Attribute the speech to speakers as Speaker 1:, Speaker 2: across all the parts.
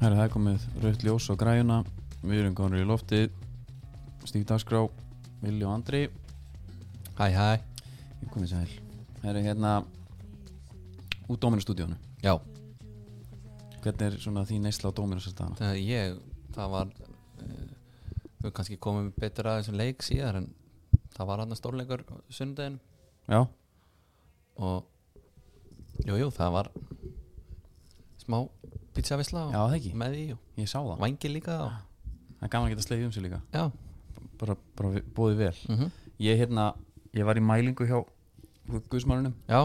Speaker 1: Herra, það er komið rautt ljós á græjuna Við erum konur í lofti Stík dagskrá, Vili og Andri
Speaker 2: Hæ, hæ,
Speaker 1: Ég komið sæl Það er hérna Út Dóminustúdíónu
Speaker 2: já,
Speaker 1: Hvernig er svona þín neysla á Dóminustúdíónu?
Speaker 2: það, ég, það var, eh, við kannski komum betur að þessum leik síðar en það var hann að stórleikur sundaginn
Speaker 1: Já,
Speaker 2: og, jú, jú, það var smá pizzavisla
Speaker 1: já
Speaker 2: og
Speaker 1: það ekki
Speaker 2: með því og
Speaker 1: Ég sá það
Speaker 2: vangi líka og,
Speaker 1: Það er gaman að geta slegið um sig líka
Speaker 2: já,
Speaker 1: Bara, bara bóðið vel
Speaker 2: mhm,
Speaker 1: Ég hérna, ég var í mælingu hjá Guðsmálunum
Speaker 2: já,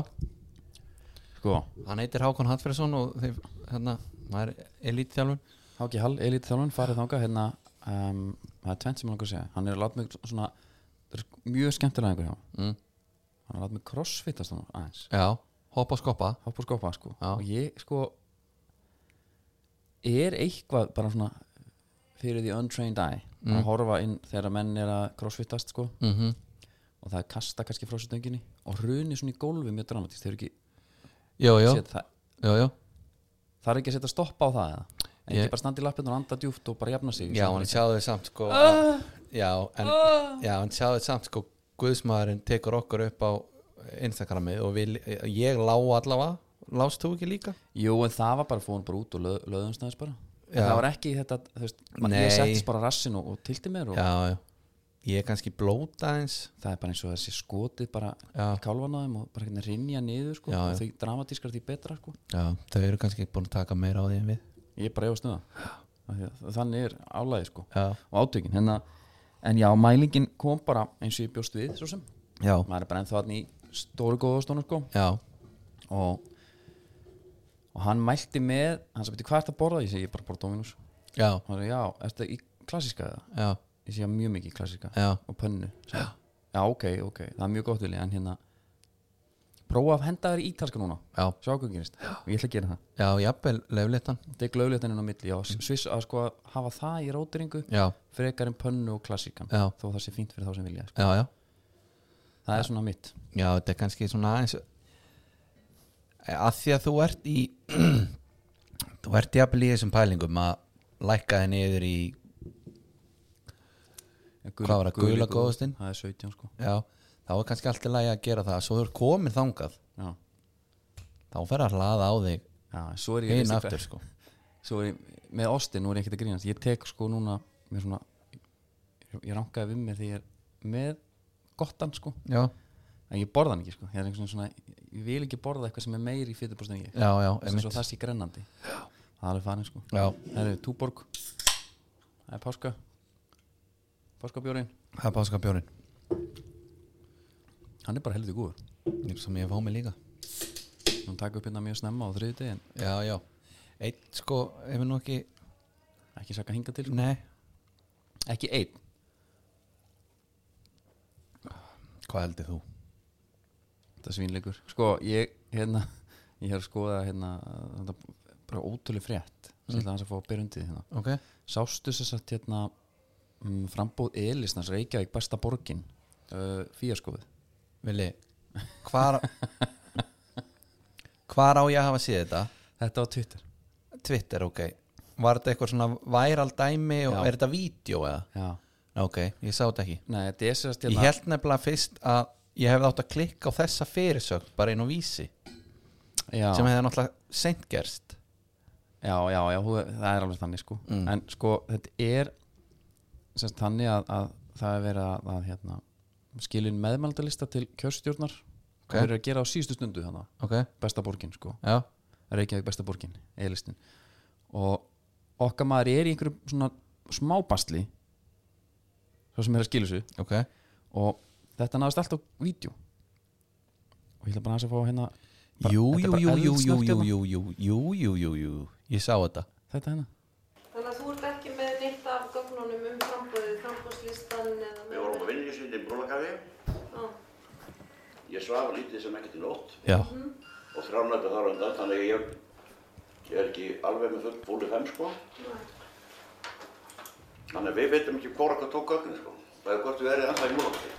Speaker 1: Sko,
Speaker 2: hann heitir Hákon Hallfjörðsson og þeir, hérna, það er elítþjálfun,
Speaker 1: Háki Hall, Elit þjálfun, farið þangað hérna, um, það er tvennt sem hann langar að segja hann er að láta mig svona það er mjög skemmtilega einhver hjá honum.
Speaker 2: mm.
Speaker 1: hann er að láta mig crossfitast hann aðeins
Speaker 2: já, hoppa og skoppa,
Speaker 1: hoppa og skoppa sko
Speaker 2: Já.
Speaker 1: og ég sko er eitthvað bara svona fyrir the untrained eye
Speaker 2: Mm.
Speaker 1: að horfa inn þegar menn er að crossfitast sko
Speaker 2: mhm,
Speaker 1: og það er kasta kannski frá sér dönginni og runi svona í gólfi mjög dramatíst þeir ekki
Speaker 2: jú, jú,
Speaker 1: set, það,
Speaker 2: jú, jú,
Speaker 1: það er ekki að setja stoppa á það eða en
Speaker 2: Ég-
Speaker 1: ekki bara standa í lappinu og anda djúft og bara jafna sig
Speaker 2: Já, hann sjáðu þið samt sko að, já, en, já, hann sjáðu þið samt sko Guðsmaðurinn tekur okkur upp á Instagramið og við, ég lá allavega Lást þú ekki líka?
Speaker 1: Jú, en það var bara fóðan bara út og löð, löðumst aðeins bara
Speaker 2: Já.
Speaker 1: Það var ekki þetta, þú veist man, Ég
Speaker 2: Nei.
Speaker 1: settist bara á rassinn og, og tilti mér og
Speaker 2: Já, já Ég er kannski blóta eins
Speaker 1: það er bara eins og þessi skotið bara
Speaker 2: Já.
Speaker 1: kálvanaðum og bara hérna rinja niður sko,
Speaker 2: Já,
Speaker 1: og
Speaker 2: já.
Speaker 1: því dramatískar því betra sko.
Speaker 2: Já, þau eru kannski búin að taka meira á því en við
Speaker 1: Ég er bara efast um það. Af því að Þannig er álæði sko
Speaker 2: Já,
Speaker 1: og átökin hérna, En já, mælingin kom bara eins og ég bjóst við svo sem
Speaker 2: já,
Speaker 1: Maður er bara ennþá hann í stóru góðastónu sko
Speaker 2: já,
Speaker 1: og, og hann mælti með hann sagði, "Bíddu, hvað ertu að borða? Ég segi, ég er bara að borða Dominus
Speaker 2: já,
Speaker 1: Hann sagði, já, ertu í klassíska eða?
Speaker 2: já,
Speaker 1: ég sé mjög mikið klassika
Speaker 2: já.
Speaker 1: og pönnu já. já, ok, ok, það er mjög gott vilja en hérna prófa að henda þér í ítalska núna
Speaker 2: Já,
Speaker 1: sjá hvað gerist, og ég ætla að gera það
Speaker 2: já, jafnvel, leifleitan
Speaker 1: þetta er glöðlétaninn á milli, já,
Speaker 2: Mm.
Speaker 1: sviss að sko að hafa það í rótiringu
Speaker 2: Já,
Speaker 1: frekar en pönnu og klassikan
Speaker 2: já,
Speaker 1: þó það sé fínt fyrir þá sem vilja, sko.
Speaker 2: já, já
Speaker 1: það er svona mitt
Speaker 2: Já, þetta er kannski svona aðeins að því að þú ert í þú ert jafnvel í þessum pælingum að lækka þið niður í Hvað var það, gula góðastinn?
Speaker 1: það er 17 sko,
Speaker 2: já, þá er kannski allt í lagi að gera það svo þú ert komin þangað,
Speaker 1: já,
Speaker 2: þá fer að hlaða á þig
Speaker 1: já en svo er ég
Speaker 2: einn
Speaker 1: veistu
Speaker 2: aftur
Speaker 1: hvað-
Speaker 2: sko
Speaker 1: svo er ég, með ostin, nú er ég ekkert að grínast ég tek sko núna, mér svona ég- ég rankaði við mér því ég er með gottan sko
Speaker 2: Já,
Speaker 1: en ég borða hann ekki sko ég, er einhvern veginn svona, ég vil ekki borða eitthvað sem er meiri í fytubrost en ég
Speaker 2: já, já,
Speaker 1: sem svo
Speaker 2: einmitt
Speaker 1: það sé grennandi það er alveg farin sko
Speaker 2: Já,
Speaker 1: það eru túborg það er páska páskabjórin
Speaker 2: það er páska bjórin
Speaker 1: hann er bara heldur góður
Speaker 2: sem ég fá mig líka
Speaker 1: hann taka upp hérna mjög snemma á þriði degin
Speaker 2: Já, já, einn sko ef við nú ekki,
Speaker 1: ekki saka hinga til sko.
Speaker 2: nei,
Speaker 1: ekki einn
Speaker 2: hvað heldur þú?
Speaker 1: þetta er svínleikur sko ég hérna ég er að skoða hérna þetta er bara ótrúlega frétt sem
Speaker 2: Mm.
Speaker 1: ég ætla hans að fá að byrja undir hérna
Speaker 2: Ok,
Speaker 1: sástu þess að hérna um, frambóð Elisnars Reykjavík besta borgin uh, fíaskóð
Speaker 2: Vili, hvar hvar á ég að hafa séð þetta?
Speaker 1: Þetta á Twitter
Speaker 2: Twitter, ok Var þetta eitthvað svona væral dæmi og
Speaker 1: Já.
Speaker 2: er þetta vídeo eða?
Speaker 1: Já.
Speaker 2: Ok, ég sá þetta ekki
Speaker 1: Nei, þetta er hérna- sérst
Speaker 2: Ég held nefnilega fyrst að ég hefði átt að klikka á þessa fyrirsögn bara inn á vísi
Speaker 1: já,
Speaker 2: sem hefði náttúrulega seint gerst
Speaker 1: já, já, já, hú- það er alveg þannig sko
Speaker 2: Mm.
Speaker 1: En sko, þetta er sérst þannig að, að það er verið að, að hérna, skilin meðmældalista til kjörstjórnar
Speaker 2: Ok.
Speaker 1: okay. Það er að gera á síðustu stundu þannig
Speaker 2: Ok,
Speaker 1: besta borgin sko
Speaker 2: já,
Speaker 1: Reykjavík besta borgin, eðlistin og okkar maður er í einhverju svona smábastli svo sem er að skilu sig
Speaker 2: ok
Speaker 1: og þetta náðist allt á vídeo og ég ætla bara aðeins að fá hérna bara-
Speaker 2: Jú,
Speaker 1: þetta er
Speaker 2: jú,
Speaker 1: bara
Speaker 2: jú, jú, jú,
Speaker 1: eldsnöggt
Speaker 2: jú,
Speaker 1: hérna.
Speaker 2: jú, jú, jú, jú, jú, jú Ég sá þetta
Speaker 1: þetta hérna
Speaker 3: Þannig að þú ert ekki með neitt af gögnunum um frambóðið, frambóðslistan eða
Speaker 4: Við vorum á vinningu sinni í Brúnakarði,
Speaker 3: Já,
Speaker 4: ég svaf lítið sem ekkert í nótt
Speaker 2: Já,
Speaker 4: og þrjánættu þar á undan, þannig að ég, ég er ekki alveg með full búlið fem sko. Þannig að við veitum ekki hvora hvað tók gögnin sko, það er hvort við erum ennþá í múlokki.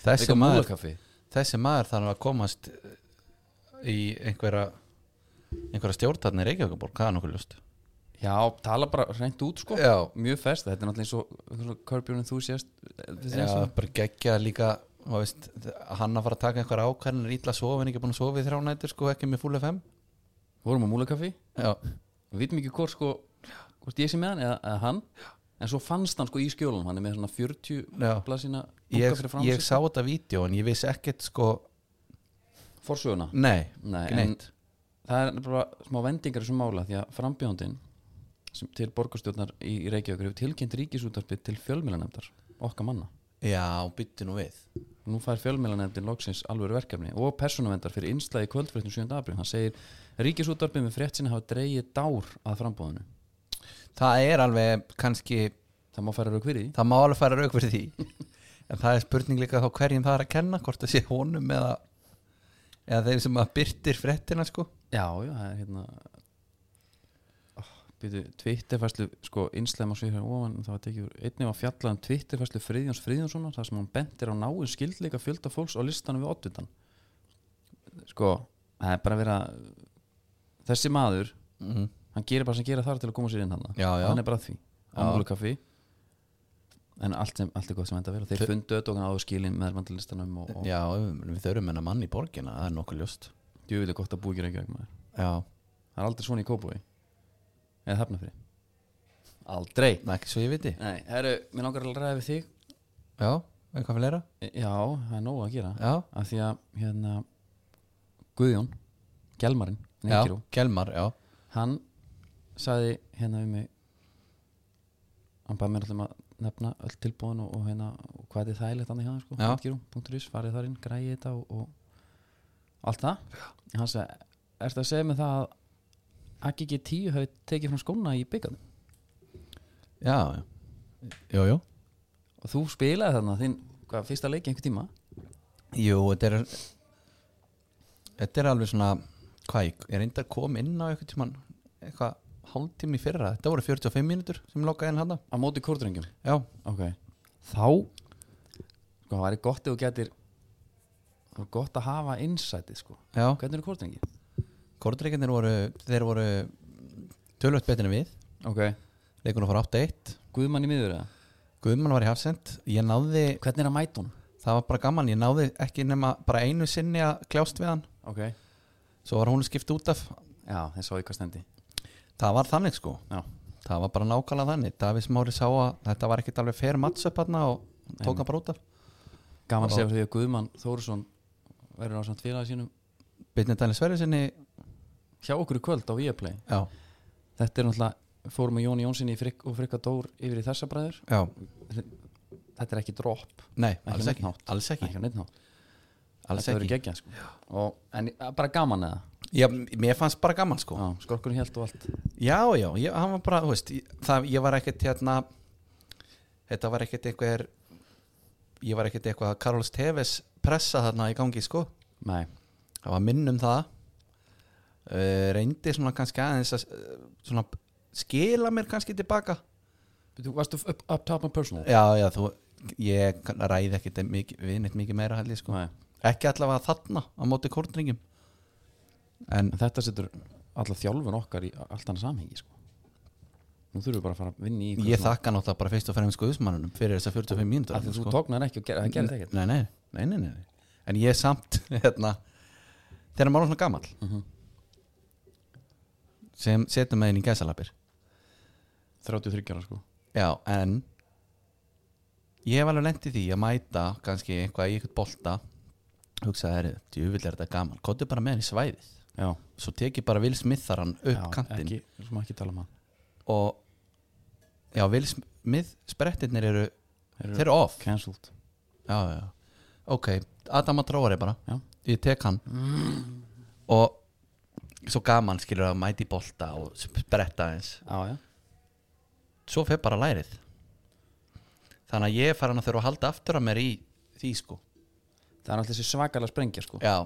Speaker 2: þessi
Speaker 1: Eitthvað
Speaker 2: maður
Speaker 1: múlakaffi.
Speaker 2: þessi maður þarf að komast eh, í einhverja einhverja stjórnarni Reykjavíkaborg, það er nokkuð ljóst
Speaker 1: Já, tala bara reynd út sko
Speaker 2: Já.
Speaker 1: Mjög fest, þetta er náttúrulega eins og- eins og Körbjörn þú sést
Speaker 2: Já, bara geggja líka þú veist, hann að fara að taka einhver ákvarðin ítla að sofa, en ekki búin að sofa í þrjá nætur sko, ekki með full FM
Speaker 1: Vorum á múlakaffi,
Speaker 2: Já,
Speaker 1: við vitum ekki hvort sko hvort ég sé með hann eða, eða hann en svo fannst hann sko í skjólunum hann er með svona 40
Speaker 2: Já.
Speaker 1: blasina
Speaker 2: ég, ég sá þetta vídeo en ég vissi ekkert sko,
Speaker 1: Forsöguna
Speaker 2: nei,
Speaker 1: Nei,
Speaker 2: ekki
Speaker 1: en-
Speaker 2: neitt
Speaker 1: það er bara smá vendingar í þessum mála því að frambjóndin sem til borgarstjórnar í í Reykjavíkur hefur tilkynnt ríkisútarpið til fjölmiðlanemdar okkar manna.
Speaker 2: Já, byttu nú við
Speaker 1: Nú fær fjölmiðlanemdin loksins alvöru verkefni og persónuvendar fyrir innslagi kvöldfréttum 7. april. Hann segir ríkisútarpið með fréttina hafa dreigið dár að frambóðinu.
Speaker 2: Það er alveg kannski
Speaker 1: Það má færa rauk fyrir því.
Speaker 2: það má alveg færa rauk fyrir því en það er spurning líka þá hverjum það er að kenna hvort það sé honum eða eða þeir sem að byrtir frettina sko
Speaker 1: Já, já, það er hérna oh, býtu, Twitterfærslu sko, innslæm á sviðar ofan það var tekið úr, einnig var fjallað um Twitterfærslu Friðjóns Friðjónssonar, þar sem hann bentir á náin skildleika fjölda fólks á listanum við oddvitan sko, það er bara að vera þessi maður,
Speaker 2: mm.
Speaker 1: hann gerir bara sem gera þar til að koma sér inn hann,
Speaker 2: Já, já.
Speaker 1: hann er bara að því
Speaker 2: Já.
Speaker 1: ámúlu kaffi en allt, sem, allt er gott sem enda vel og þeir fundu öll og hann áður skilin með mandalistanum og, og
Speaker 2: Já, við þurfum hennar mann í borginna það er nokkuð ljóst
Speaker 1: djúvilega gott að búi ekki reykja maður
Speaker 2: Já,
Speaker 1: Það er aldrei svona í Kópói Eða Hafnafri Aldrei
Speaker 2: það er ekki svo ég viti
Speaker 1: Nei, herru, mér langar að ræða við þig
Speaker 2: Já, eitthvað fyrir leira
Speaker 1: E, Já, það er nóg að gera
Speaker 2: Já,
Speaker 1: Af því að, hérna Guðjón, Gjelmarinn
Speaker 2: já,
Speaker 1: Neikirú,
Speaker 2: Kelmar, já
Speaker 1: hann sagði hérna við mig Hann bað mér alltaf um að nefna öll tilbúin og, og hérna, og hvað er þægilegt annað hjá það, sko,
Speaker 2: Já.
Speaker 1: Neikirú.is, farið þar inn, græði þetta og, og allt það já. Hann sagði, ertu að segja mig það að AGG 10 hafi tekið frá skóna í byggjum
Speaker 2: Já, já, jú, jú
Speaker 1: og þú spilaði þarna þinn hvað, fyrsta leik einhver tíma
Speaker 2: Jú, þetta er þetta er alveg svona hvað, ég ég reyndar kom inn á eitthvað tímann eitthvað hálftími í fyrra þetta voru 45 mínútur sem lokaði inn hana
Speaker 1: á móti kórdrengjum
Speaker 2: Já,
Speaker 1: okay. þá sko, það væri gott ef þú getur það er gott að hafa insighti sko.
Speaker 2: já,
Speaker 1: hvernig eru kórdrengi?
Speaker 2: kordreikindir voru þeir voru tölvöld betur en við
Speaker 1: Okay.
Speaker 2: leikunum fór 8-1
Speaker 1: Guðmann í miður eða?
Speaker 2: Guðmann var í hafsend ég náði,
Speaker 1: hvernig er að mæta hún?
Speaker 2: það var bara gaman ég náði ekki nema bara einu sinni að kljást við hann
Speaker 1: Okay.
Speaker 2: svo var hún skipt út af
Speaker 1: já, þeir sá ég hvað stendi
Speaker 2: það var þannig sko
Speaker 1: já.
Speaker 2: það var bara nákvæmlega þannig Davís Mári sá að þetta var ekkit alveg fair matchup hann og tók hann bara út af
Speaker 1: gaman að segja fyrir því að Guðmann Þórusson verður á samt félagi sínum
Speaker 2: Byrnir Daniel Sverjusinni
Speaker 1: hjá okkur í kvöld á Viaplay
Speaker 2: já,
Speaker 1: þetta er náttúrulega fórum með Jóni Jónssoni í frikk og frikka Dór yfir í þessa bræður
Speaker 2: já,
Speaker 1: þetta er ekki dropp
Speaker 2: nei,
Speaker 1: Ekki
Speaker 2: alls
Speaker 1: neitt
Speaker 2: ekki,
Speaker 1: hátt.
Speaker 2: alls ekki,
Speaker 1: ekki á neitt hátt
Speaker 2: alls
Speaker 1: þetta verður
Speaker 2: ekki.
Speaker 1: geggja sko. og, en eh, bara gaman eða
Speaker 2: Já, mér fannst bara gaman sko
Speaker 1: Já, skorkurinn held og allt
Speaker 2: já, já, ég, hann var bara, þú veist ég- það, ég var ekkert hérna þetta var ekkert einhver ég var ekkert eitthvað að Karls Teves pressa þarna í gangi sko
Speaker 1: Nei,
Speaker 2: það var minn um það uh, reyndi svona kannski aðeins að uh, svona skila mér kannski tilbaka
Speaker 1: þú varstu up, up top and personal
Speaker 2: já, já, þú, ég kann- ræði ekkert mikið, við neitt mikið meira held ég sko
Speaker 1: Nei,
Speaker 2: ekki allavega þarna á móti kórnringum en
Speaker 1: en þetta setur alla þjálfun okkar í allt annað samhengi sko. Nú þurfum við bara að fara að vinna í
Speaker 2: ég þakka náttúrulega bara fyrst og fremst guðsmannunum fyrir þessar 45 mínútur Sko.
Speaker 1: að þú tóknar ekki og ger, það gerði ekkert
Speaker 2: nei, nei, nei, nei, nei, nei. en ég samt hérna, þegar maður er svona gamall
Speaker 1: Mhm.
Speaker 2: sem setur maður inn í gæsalapir
Speaker 1: 33 ára sko
Speaker 2: já, en ég hef alveg lent í því að mæta kannski eitthvað í eitthvað bolta hugsaði þeirri, djúvill er þetta gaman kóttu bara með hann í svæðið
Speaker 1: Já,
Speaker 2: svo tekið bara Will Smith þar hann upp
Speaker 1: já,
Speaker 2: kantinn
Speaker 1: ekki, Svo má ekki tala um hann
Speaker 2: og já, Will Smith sprettirnir eru,
Speaker 1: Eru-
Speaker 2: þeir eru off
Speaker 1: Cancelled
Speaker 2: já, já. ok, Adam að tróari bara
Speaker 1: Já. Mm.
Speaker 2: ég tek hann og svo gaman skilur að mæti bolta og spretta eins
Speaker 1: Já, já
Speaker 2: svo fer bara lærið þannig að ég er farin að þurfa að halda aftur að mér í því sko
Speaker 1: Það er alltaf þessi svakalega sprengja sko
Speaker 2: já,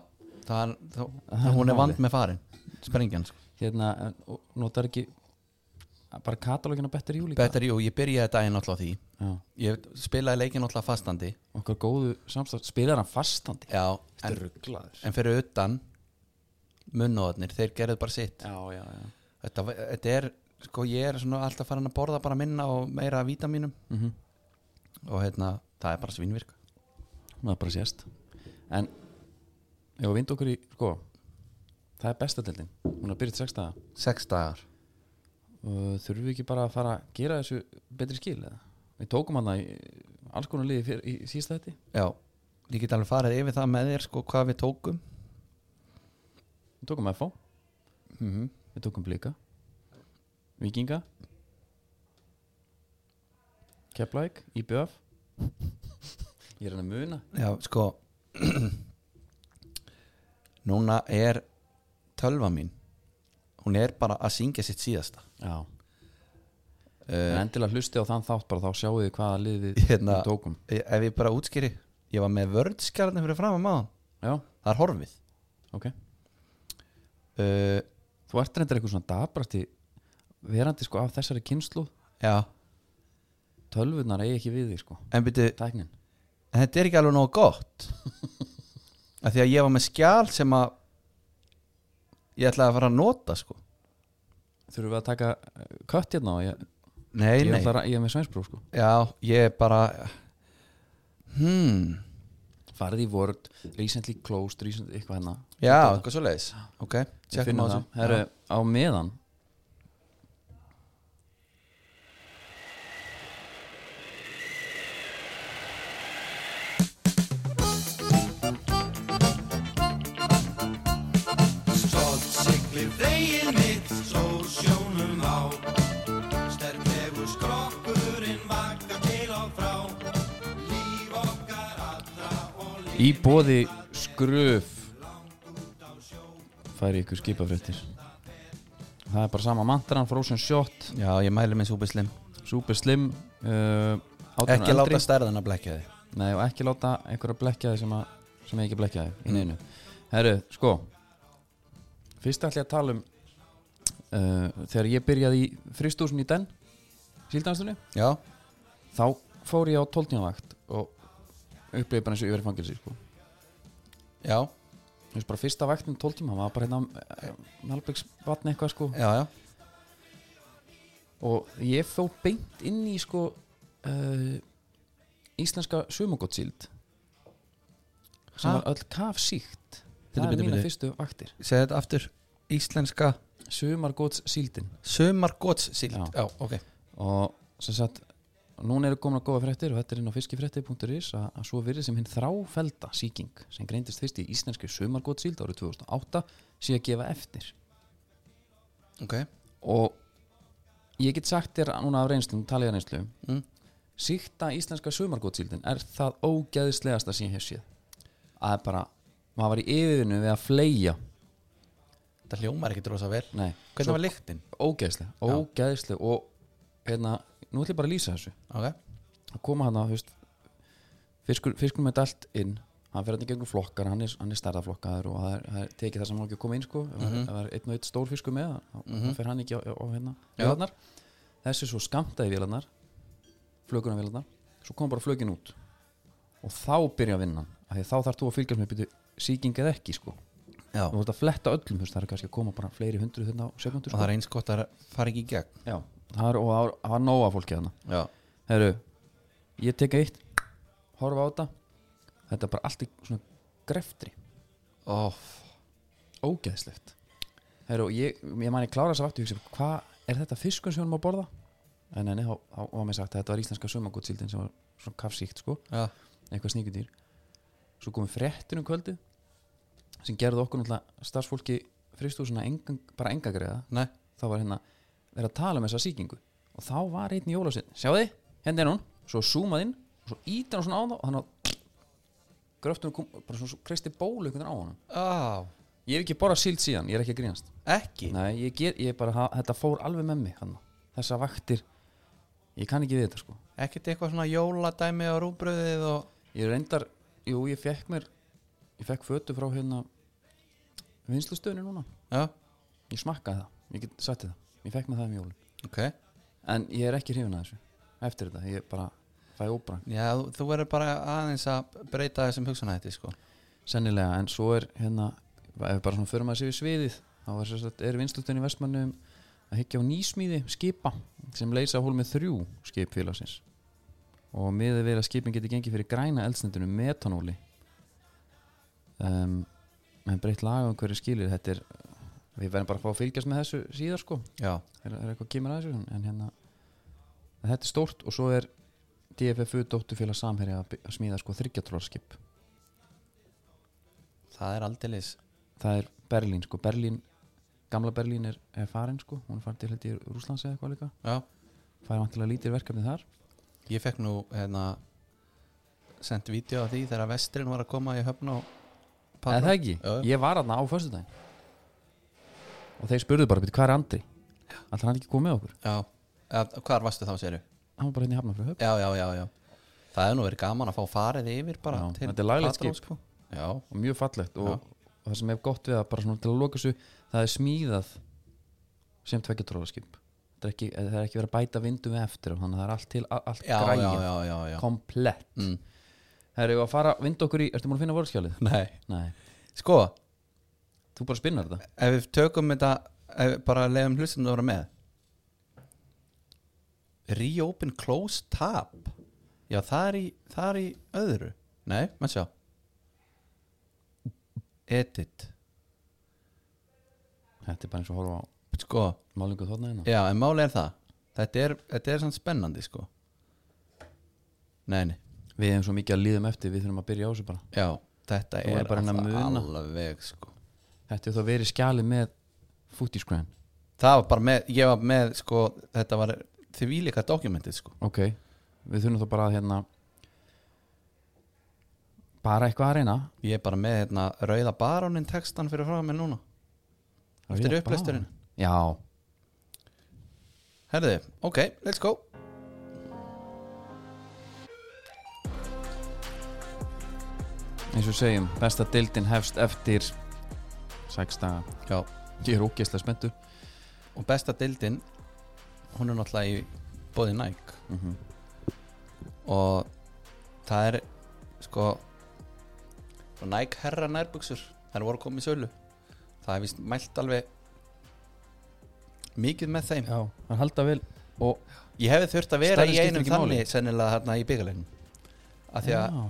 Speaker 2: það, er- þá, hún er vand með farin sprengjan sko
Speaker 1: Hérna, en- og notar ekki bara katalógin á Better You líka
Speaker 2: Better, jú, ég byrjaði þetta einn alltaf á því
Speaker 1: Já,
Speaker 2: ég spilaði leikin alltaf fastandi
Speaker 1: okkar góðu samstæð Spilar hann fastandi
Speaker 2: já, en
Speaker 1: Rugglaður
Speaker 2: en fyrir utan munnóðarnir, þeir gerðu bara sitt
Speaker 1: Já, já, já
Speaker 2: þetta, var- þetta er sko ég er svona alltaf farin að borða bara minna og meira af vítamínum
Speaker 1: Mhm.
Speaker 2: og hérna, það er bara svinvirk
Speaker 1: það bara sést en ef við vind okkur í sko, það er bestadildin hún er byrjt sex daga
Speaker 2: sex dagar
Speaker 1: og Uh, þurfum við ekki bara að fara að gera þessu betri skil eða? við tókum hann í alls konar liði fyrir, í sísta þetta
Speaker 2: já, ég get alveg farið yfir það með þér sko hvað við tókum
Speaker 1: við tókum FO,
Speaker 2: mm -hmm.
Speaker 1: við tókum Blika Víkinga Keflæk, IBF ég er hann að muna
Speaker 2: já, sko núna er tölva mín hún er bara að syngja sitt síðasta
Speaker 1: já, en
Speaker 2: uh,
Speaker 1: endilega hlusti á þann þátt bara þá sjáu þið hvaða liði
Speaker 2: Hérna-
Speaker 1: við tókum
Speaker 2: ef ég bara útskýri ég var með vörðskjarni fyrir fram að maður
Speaker 1: já,
Speaker 2: það er horfið
Speaker 1: ok
Speaker 2: uh,
Speaker 1: þú ert reyndar eitthvað svona dabrasti verandi sko af þessari kynslu
Speaker 2: já,
Speaker 1: tölvunar eigi ekki við því sko
Speaker 2: en byrju
Speaker 1: tæknin,
Speaker 2: en þetta er ekki alveg nógu gott af því að ég var með skjál sem að ég ætlaði að fara að nota sko
Speaker 1: þurfum við að taka eh, kött hérna og ég,
Speaker 2: nei,
Speaker 1: ég,
Speaker 2: nei,
Speaker 1: ætlar að- ég er með sveinsbrú sko
Speaker 2: já, ég er bara hmm
Speaker 1: farið í Word, recently closed recent, eitthvað hérna,
Speaker 2: já, eitthvað svo leiðis ok,
Speaker 1: ég
Speaker 2: tjekkum á
Speaker 1: finnum
Speaker 2: þessu
Speaker 1: það Heru, á meðan
Speaker 5: Stott siglir vegið mitt, svo sjónum á. Sterklegur skrokkurinn vaka til og frá. Líf okkar allra og líf.
Speaker 1: í bóði skröf færi ykkur skipafréttir það er bara sama mantran, frozen shot
Speaker 2: já, ég mæli með súbislim
Speaker 1: super slim uh,
Speaker 2: ekki láta stærðan að blekja þig
Speaker 1: Nei og ekki láta einhverja blekja þig sem, að, sem ég ekki blekja þig
Speaker 2: Mm.
Speaker 1: í neinu Herru, sko Fyrst ætla ég að tala um uh, Þegar ég byrjaði í fristúsin í den Síldanstunni
Speaker 2: já,
Speaker 1: Þá fór ég á 12 tíma vakt Og upplifði bara eins og ég verið fangilsi sko.
Speaker 2: já,
Speaker 1: Þú veist bara fyrsta vaktin 12 tíma Var bara hérna Nalbyggs vatn eitthvað sko
Speaker 2: já, já
Speaker 1: Og ég fór beint inn í sko uh, Íslenska sumugottsíld Sem
Speaker 2: Ha?
Speaker 1: var öll kafsíkt
Speaker 2: Bíddu,
Speaker 1: Það er
Speaker 2: bíddu,
Speaker 1: mína
Speaker 2: bíddu.
Speaker 1: fyrstu vaktir
Speaker 2: segði þetta aftur, íslenska
Speaker 1: sumargóts síldin
Speaker 2: sömargótssíld
Speaker 1: Já.
Speaker 2: já, ok,
Speaker 1: og sem sagt núna eru komin að góða fréttir og þetta er inn á fiskifrétti.is að, að svo virði sem hinn þráfelda síking sem greindist fyrst í íslenski sumargóts síld árið 2008 sé að gefa eftir
Speaker 2: ok
Speaker 1: og ég get sagt þér núna af reynslu, talið af reynslu
Speaker 2: Mm.
Speaker 1: síkta íslenska sumargóts síldin er það ógeðislegasta sem ég hef séð að er bara, maður var í yfirvinnu við að fleia
Speaker 2: þetta hljómar ekki drosa vel
Speaker 1: nei,
Speaker 2: hvernig var lyktin?
Speaker 1: ógeðisleg, ógeðisleg og hérna, nú ætlum ég bara að lýsa þessu
Speaker 2: ok,
Speaker 1: að koma hann að fiskur, fiskur með dalt inn hann fer hann í gegnum flokkar, hann er, hann er stærðaflokkaður og það er, það er tekið það sem hann á ekki að koma inn sko, ef það er- ef það er einn og einn stór fiskur með þá mm fer hann ekki á, á, á hérna
Speaker 2: Mhm. Já.
Speaker 1: vélarnar þessi svo skamtaði vélarnar flökunum vélarnar, svo kom bara flökin út og þá byrja vinnan af því að þá þarf þú að fylgjast með byrju sýking eða ekki sko,
Speaker 2: já
Speaker 1: þú voru að fletta öllum þú veist, það er kannski að koma bara fleiri hundruð hérna á sekundur
Speaker 2: og það
Speaker 1: sko.
Speaker 2: er eins gott að fara ekki í gegn
Speaker 1: Já, það er, og það var- það var nóga fólki þarna
Speaker 2: já,
Speaker 1: Herru, ég tek eitt Horfa á þetta Þetta er bara allt í svona greftri
Speaker 2: oh,
Speaker 1: Ógeðslegt Herru, ég, ég man ég klára þess að vakti Hvað er þetta fiskur sem við erum að borða? En enni, þá þá var mér sagt að þetta var íslenska sumagótsíldin sem var svona kafsíkt sko
Speaker 2: já.
Speaker 1: eitthvað sníkudýr Svo komum fréttin um kvöldið sem gerði okkur náttúrulega starfsfólki fristúsina engan, bara engagreða
Speaker 2: Nei.
Speaker 1: þá var hérna verið að tala um þessa sýkingu og þá var einn jólasinn, sjáði, hérna er hún svo zoomað inn, og svo ítir hann svona á það og þannig að gröftunum kom bara svona kristi bólu einhvern veginn á hann
Speaker 2: Á,
Speaker 1: ég hef ekki borðað síld síðan, ég er ekki að grínast
Speaker 2: ekki
Speaker 1: nei, ég ger, ég bara, það- þetta fór alveg með mig hann, þessa vaktir ég kann ekki við þetta sko
Speaker 2: ekkert eitthvað svona jóladæmi og rúbröðið og
Speaker 1: ég reyndar, jú, ég fekk mér ég fekk fötu frá hérna vinslustöðinu núna
Speaker 2: já,
Speaker 1: ég smakkaði það, ég get sagt þér það ég fekk mér það um jólin,
Speaker 2: ok
Speaker 1: en ég er ekki hrifin að þessu eftir þetta, ég bara fæ óbra
Speaker 2: já, þú, þú verður bara aðeins að breyta þessum hugsanætti sko
Speaker 1: sennilega, en svo er hérna ef við bara svona förum að sér við sviðið þá er, sem sagt- er vinslustöðin í Vestmannu að higgja á nýsmíði skipa sem leysa á hólmið þrjú skip félagsins og miðið við að skipin geti gengið fyrir græna eldsnendinu metanóli um, en breytt laga um hverju skilir þetta er, við verðum bara að fá að fylgjast með þessu síðar sko,
Speaker 2: já,
Speaker 1: er, er eitthvað kemur að þessu en- en hérna, en þetta er stórt og svo er DFFU dóttufélag samherja að by- að smíða sko þryggjatrólarskip
Speaker 2: það er aldeilis
Speaker 1: það er Berlín sko, Berlín gamla Berlín er, er farin sko hún er farin til hætti í Rúslands eða eitthvað líka
Speaker 2: já,
Speaker 1: fæði vantilega lítir verkefni þar
Speaker 2: ég fekk nú hérna sendt vídeo af því þegar vesturinn var að koma í höfn og
Speaker 1: Eða það ekki,
Speaker 2: já, já.
Speaker 1: ég var aðna á föstudaginn og þeir spurðu bara, "Bíddu, hvað er Andri? Alltaf hann ekki komið með okkur
Speaker 2: já, eða, hvar varstu þá séru?
Speaker 1: hann var bara hérna í hafna fyrir höfn
Speaker 2: já, já, já, já það er nú verið gaman að fá farið yfir bara
Speaker 1: Já,
Speaker 2: til
Speaker 1: þetta er laglegt
Speaker 2: Patreon,
Speaker 1: skip.
Speaker 2: sko. já,
Speaker 1: og mjög fallegt og,
Speaker 2: Já.
Speaker 1: og það sem hef gott við að bara svona til að loka þessu það er smíðað sem tveggjatrólaskip það er ekki, það er ekki verið að bæta vindum við eftir og þannig að það er allt til, a- allt
Speaker 2: já, já,
Speaker 1: græja
Speaker 2: já, já, já.
Speaker 1: komplett
Speaker 2: Mm.
Speaker 1: það eru að fara, vindu okkur í, ertu múin að finna vorðskjálið?
Speaker 2: nei,
Speaker 1: Nei,
Speaker 2: sko
Speaker 1: þú bara spinnar þetta
Speaker 2: ef við tökum þetta ef við bara leiðum hlustum að vera með reopen close tab já það er í, það er í öðru nei, maður sjá edit
Speaker 1: þetta er bara eins og að horfa á
Speaker 2: sko,
Speaker 1: málingu þóna hérna
Speaker 2: já en máli er það þetta er, þetta er sann spennandi sko nei, nei
Speaker 1: við hefum svo mikið að líðum eftir, við þurfum að byrja á þessu bara
Speaker 2: já, þetta
Speaker 1: Þú
Speaker 2: er
Speaker 1: er bara að
Speaker 2: alltaf
Speaker 1: muna.
Speaker 2: alveg sko
Speaker 1: þetta er þá verið skjalið með footiscram,
Speaker 2: það var bara með, ég var með sko, þetta var þvílíka dokumentið sko
Speaker 1: ok við þurfum þá bara að hérna bara eitthvað að reyna
Speaker 2: Ég er bara með hérna Rauða barónin textan fyrir frá mig núna Eftir
Speaker 1: Rauða
Speaker 2: upplæsturinn
Speaker 1: já,
Speaker 2: Herðu, ok, let's go
Speaker 1: eins og við segjum besta deildin hefst eftir 6 daga,
Speaker 2: Já
Speaker 1: ég er ógeðslega spenntur
Speaker 2: Og besta dildin Hún er náttúrulega í bóði Nike
Speaker 1: mm
Speaker 2: Og það er sko og Nike herra nærbuxur Það voru komið í sölu Það er vist mælt alveg Mikið með þeim
Speaker 1: já, hann halda vel og
Speaker 2: Ég hefði þurft að vera
Speaker 1: Stærðin
Speaker 2: í
Speaker 1: skiptir
Speaker 2: einum
Speaker 1: ekki máli.
Speaker 2: þannig Sennilega hérna í byggalegin Af því að
Speaker 1: já,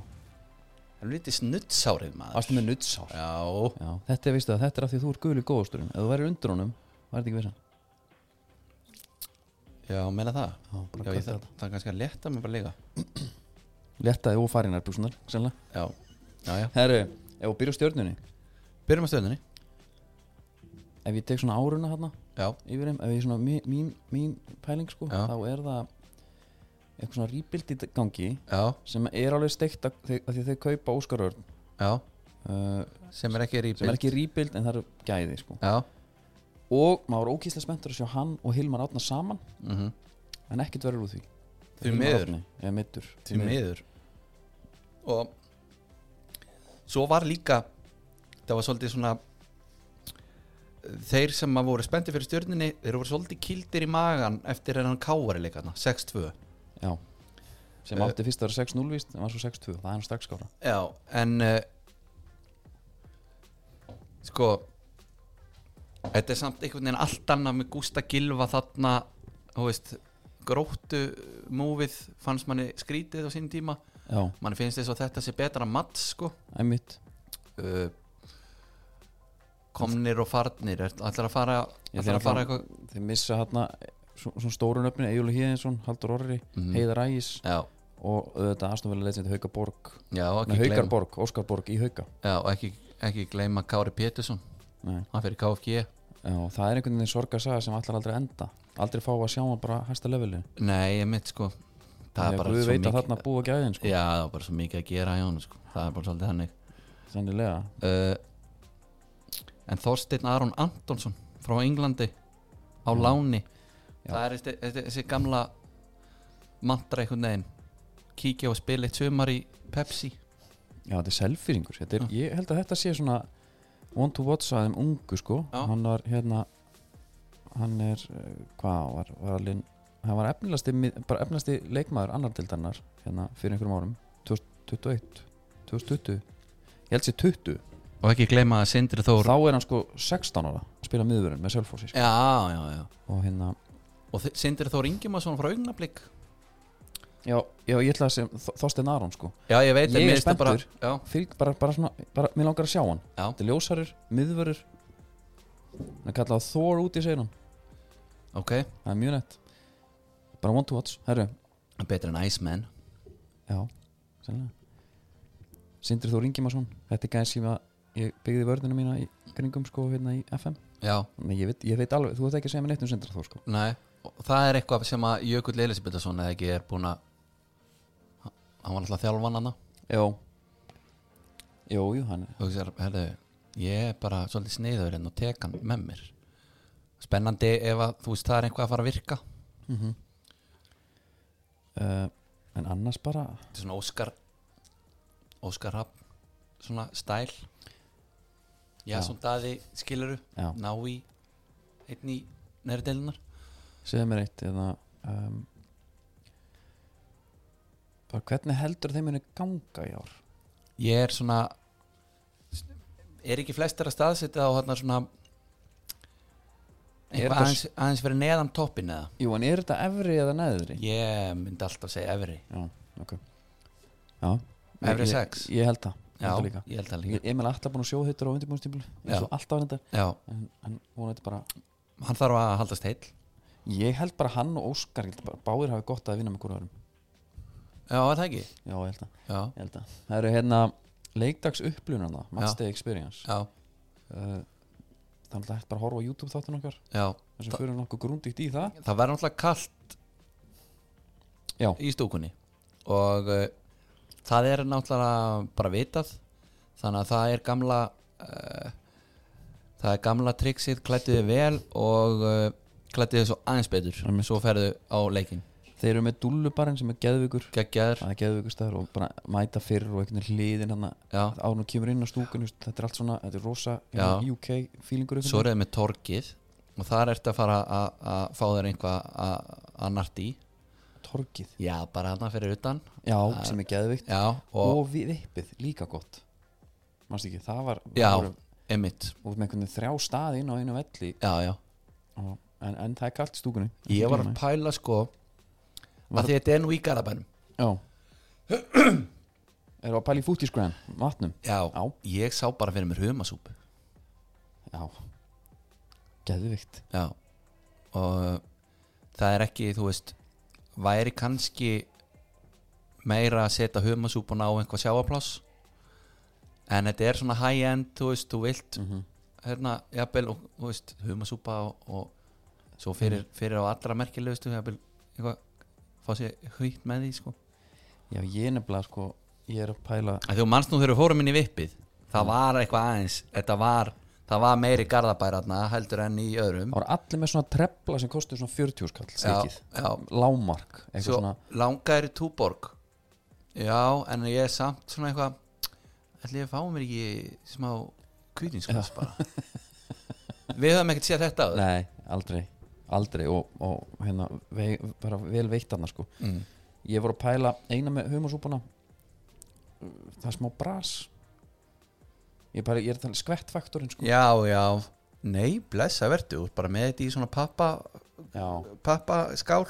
Speaker 2: Það er lítið snuttsárið maður
Speaker 1: varstu með nuttsár
Speaker 2: Já
Speaker 1: já, þetta er, veistu það, þetta er af því að þú er guli góðasturinn ef þú væri undir honum, var þetta ekki vissan
Speaker 2: Já, meina það
Speaker 1: Já, bara
Speaker 2: Já, ég,
Speaker 1: kalla
Speaker 2: það, það er kannski að létta mig bara líka
Speaker 1: Lettaði og farinar búsunar, sennilega
Speaker 2: Já, já, já
Speaker 1: Herru, ef við byrjum á stjörnunni
Speaker 2: Byrjum á stöðunni
Speaker 1: Ef ég tek svona áruna hérna
Speaker 2: Já,
Speaker 1: yfir þeim Ef ég svona mín, mín, mín pæling sko
Speaker 2: Já.
Speaker 1: Þá er það eitthvað svona rýbild í gangi
Speaker 2: já,
Speaker 1: Sem er alveg steikt að, að því að þau kaupa Óskarörn
Speaker 2: já
Speaker 1: uh,
Speaker 2: Sem er ekki rýpilt
Speaker 1: Sem er ekki rýbild en það eru gæði sko
Speaker 2: Já,
Speaker 1: Og maður er ókýslega spenntur að sjá hann og Hilmar Átna saman
Speaker 2: mm -hmm.
Speaker 1: En ekkert verður úr því
Speaker 2: Því
Speaker 1: Hilmar
Speaker 2: miður.
Speaker 1: Árni er middur
Speaker 2: því miður Og Svo var líka Það var svolítið svona Þeir sem að voru spendi fyrir stjörninni Þeir voru svolítið kildir í magan Eftir hennan káari leikana, 6-2
Speaker 1: Já Sem
Speaker 2: Uh,
Speaker 1: átti fyrst að vera 6-0 víst En var svo 6-2 Það er hann strax skára
Speaker 2: Já, en uh, Sko Þetta er samt einhvern veginn allt annað með Gústa Gilva þarna Þú veist, gróttu múfið fannst manni skrítið á sín tíma
Speaker 1: Já,
Speaker 2: manni finnst þess að þetta sé betra mats sko
Speaker 1: einmitt
Speaker 2: uh, komnir og farnir er, ætlar að fara,
Speaker 1: Ég ætla
Speaker 2: ætlar að fara
Speaker 1: að-
Speaker 2: eitthvað
Speaker 1: þeir missa hérna svona stórun öfnin, Egil Híðinsson, Haldur Orri
Speaker 2: Mhm.
Speaker 1: Heiðar Ægis
Speaker 2: Já,
Speaker 1: og auðvitað Astonvilla leysnið Hauka Borg
Speaker 2: já, og
Speaker 1: Nei,
Speaker 2: ekki
Speaker 1: Haukar
Speaker 2: gleyma,
Speaker 1: Borg, Óskar Borg í Hauka
Speaker 2: já, og ekki, ekki gleyma Kári Pétursson,
Speaker 1: Nei.
Speaker 2: hann fyrir KFG
Speaker 1: Já, og það er einhvern veginn sorgarsaga sem allar aldrei að enda aldrei fá að sjá hann bara á hæsta leveli
Speaker 2: Nei, ég mitt sko Það er
Speaker 1: Þegar
Speaker 2: bara
Speaker 1: Guð
Speaker 2: svo
Speaker 1: veit að
Speaker 2: mikið-
Speaker 1: þarna búa gæðin sko,
Speaker 2: Já, það var bara svo mikið að gera hjá hann sko. Það er bara svolítið hannig
Speaker 1: sennilega
Speaker 2: uh, Eh, En Þorsteinn Aron Antonsson frá Englandi á láni
Speaker 1: Já.
Speaker 2: Það er þessi- þessi þessi gamla mantra einhvern veginn kíkja og spila eitt sumar í Pepsi
Speaker 1: Já, þetta er selfýringur þetta er, Ég held að þetta sé svona one to watch að þeim ungu sko
Speaker 2: Já.
Speaker 1: hann var hérna hann er, eh, hvað var, var alveg, hann var efnilegasti mið- bara efnilegasti leikmaður annar dildarnar hérna fyrir einhverjum árum 2021, 2020 ég held sér 20
Speaker 2: og ekki gleyma að Sindri Þór
Speaker 1: þá er hann sko 16 ára spila miðurinn með Selfossi sko.
Speaker 2: já, já, já
Speaker 1: og hérna,
Speaker 2: og sindir þó ringjum að svona frá augnablík
Speaker 1: já, já ég ætla að sem Þ- Þorstein Aron sko,
Speaker 2: já, ég veit en
Speaker 1: Ég er
Speaker 2: mér finnst það bara-
Speaker 1: spenntur. fylg bara, bara svona bara, mér langar að sjá hann,
Speaker 2: Já.
Speaker 1: þetta er ljósarur miðurur hann er kallað Thor út í segir hann,
Speaker 2: já, ok
Speaker 1: það er mjög nett bara one to watch, herru,
Speaker 2: betur en Iceman
Speaker 1: já sennilega Sindri Þór Ingimarsson, þetta er gæði sem að ég byggði vörðina mína í kringum sko hérna í FM
Speaker 2: já,
Speaker 1: Nei, ég, veit, ég veit alveg, þú ert ekki að segja mér neitt um Sindra Þór sko.
Speaker 2: nei og það er eitthvað sem að Jökull Elisabethason eða ekki er búin að hann var alltaf þjálfan hann
Speaker 1: Já Jú, jú, hann
Speaker 2: og þessar, herðu, ég er bara svolítið sniður en og tek hann með mér spennandi ef að þú veist það er eitthvað að fara að virka þetta
Speaker 1: uh, En annars bara
Speaker 2: er svona Óskar Óskar Rapp svona stæl já,
Speaker 1: Já.
Speaker 2: svona daði skiluru
Speaker 1: Já.
Speaker 2: ná í einn í næri deilunar
Speaker 1: segja mér eitt eða, um, bara Hvernig heldur þeim muni ganga í ár?
Speaker 2: ég er svona er ekki flestir að staðsetja á hérna svona
Speaker 1: Er
Speaker 2: eitthvað
Speaker 1: þetta-
Speaker 2: aðeins, aðeins verið neðan toppin eða
Speaker 1: Jú, en er þetta efri eða neðri?
Speaker 2: ég myndi alltaf segja efri
Speaker 1: Já, ok Já
Speaker 2: Efri
Speaker 1: Ég-
Speaker 2: sex.
Speaker 1: Ég, ég held það, held
Speaker 2: já,
Speaker 1: það líka.
Speaker 2: ég held það líka
Speaker 1: Ég- Emil alltaf búin að sjóða hittur á undirbúinstímul
Speaker 2: Já.
Speaker 1: alltaf reyndar
Speaker 2: já,
Speaker 1: en hann vonandi bara
Speaker 2: hann þarf að haldast heill
Speaker 1: ég held bara hann og Óskar ég held bara, báðir hafi gott að vinna með hverju öðrum
Speaker 2: já, er það ekki
Speaker 1: já, ég held að,
Speaker 2: já,
Speaker 1: ég held að. það eru hérna leikdags upplunarna Matchday Experience
Speaker 2: já,
Speaker 1: uh, þannig að hægt bara að horfa á YouTube þáttun okkar
Speaker 2: já
Speaker 1: þar sem fyrir nokkuð grúndíkt í það
Speaker 2: það verður náttúrulega kallt
Speaker 1: já,
Speaker 2: í stúkunni og uh, það er náttúrulega bara vitað þannig að það er gamla uh, það er gamla triksið klættu þið vel og uh, klættu þið svo aðeins betur
Speaker 1: Einmitt.
Speaker 2: svo ferðu á leikin
Speaker 1: þeir eru með dullubarinn sem er geðvikur
Speaker 2: geggjaður,
Speaker 1: það er geðvikur staður og bara mæta fyrir og einhvern veginn hliðin hann
Speaker 2: já,
Speaker 1: að árnum kemur inn á stúkun þetta er allt svona, þetta er rosa hérna,
Speaker 2: Já.
Speaker 1: UK feelingur
Speaker 2: svo er það með torkið og þar ertu að fara að að fá þér einhvað að- að nart í
Speaker 1: torkið
Speaker 2: já, bara hann fyrir utan
Speaker 1: já, sem er geðvikt
Speaker 2: já,
Speaker 1: og,
Speaker 2: og,
Speaker 1: við vippið líka gott mannst ekki, það var
Speaker 2: já,
Speaker 1: það voru-
Speaker 2: emitt
Speaker 1: og með einhvern veginn þrjá staði inn á einu velli
Speaker 2: já, já
Speaker 1: og, en, en það er kalt í stúkunni
Speaker 2: Ég var að pæla sko að því þetta er nú í Garabænum
Speaker 1: já erum við að pæla í fútískræn, vatnum
Speaker 2: Já,
Speaker 1: Já.
Speaker 2: ég sá bara fyrir mér humasúpu
Speaker 1: já, geðvikt
Speaker 2: Já og það er ekki, þú veist væri kannski meira að setja humasúpuna á einhvað sjáapláss en þetta er svona high-end, þú veist, þú vilt hérna, jafnvel, og, þú veist humasúpa og, og svo fyrir, fyrir á allra merkilegustu jafnvel, eitthvað, fá sér hýtt með því, sko
Speaker 1: já, ég er nefnilega sko, ég er að pæla
Speaker 2: að þú mannst nú þegar við fórum inn í vippið það var eitthvað aðeins þetta var, það var meiri garðabæratna heldur enn í öðrum
Speaker 1: það voru allir með svona trefla sem kostur svona 40 skall sikið,
Speaker 2: já.
Speaker 1: lámark eitthvað
Speaker 2: svo
Speaker 1: svona,
Speaker 2: langaðir í túborg já, en ég er samt svona eitthvað ætli ég að fá mér ekki smá kvítinskvöss bara við höfum ekkert séð þetta áður.
Speaker 1: nei, aldrei aldrei og, og hérna vei, bara vel veitt annars sko
Speaker 2: mm.
Speaker 1: ég voru að pæla eina með humasúpuna það er smá bras ég, bara, ég er að tala skvettfaktorinn sko
Speaker 2: já, já nei, blessa verðu, þú ert bara með þetta í svona pappa
Speaker 1: já,
Speaker 2: pappaskál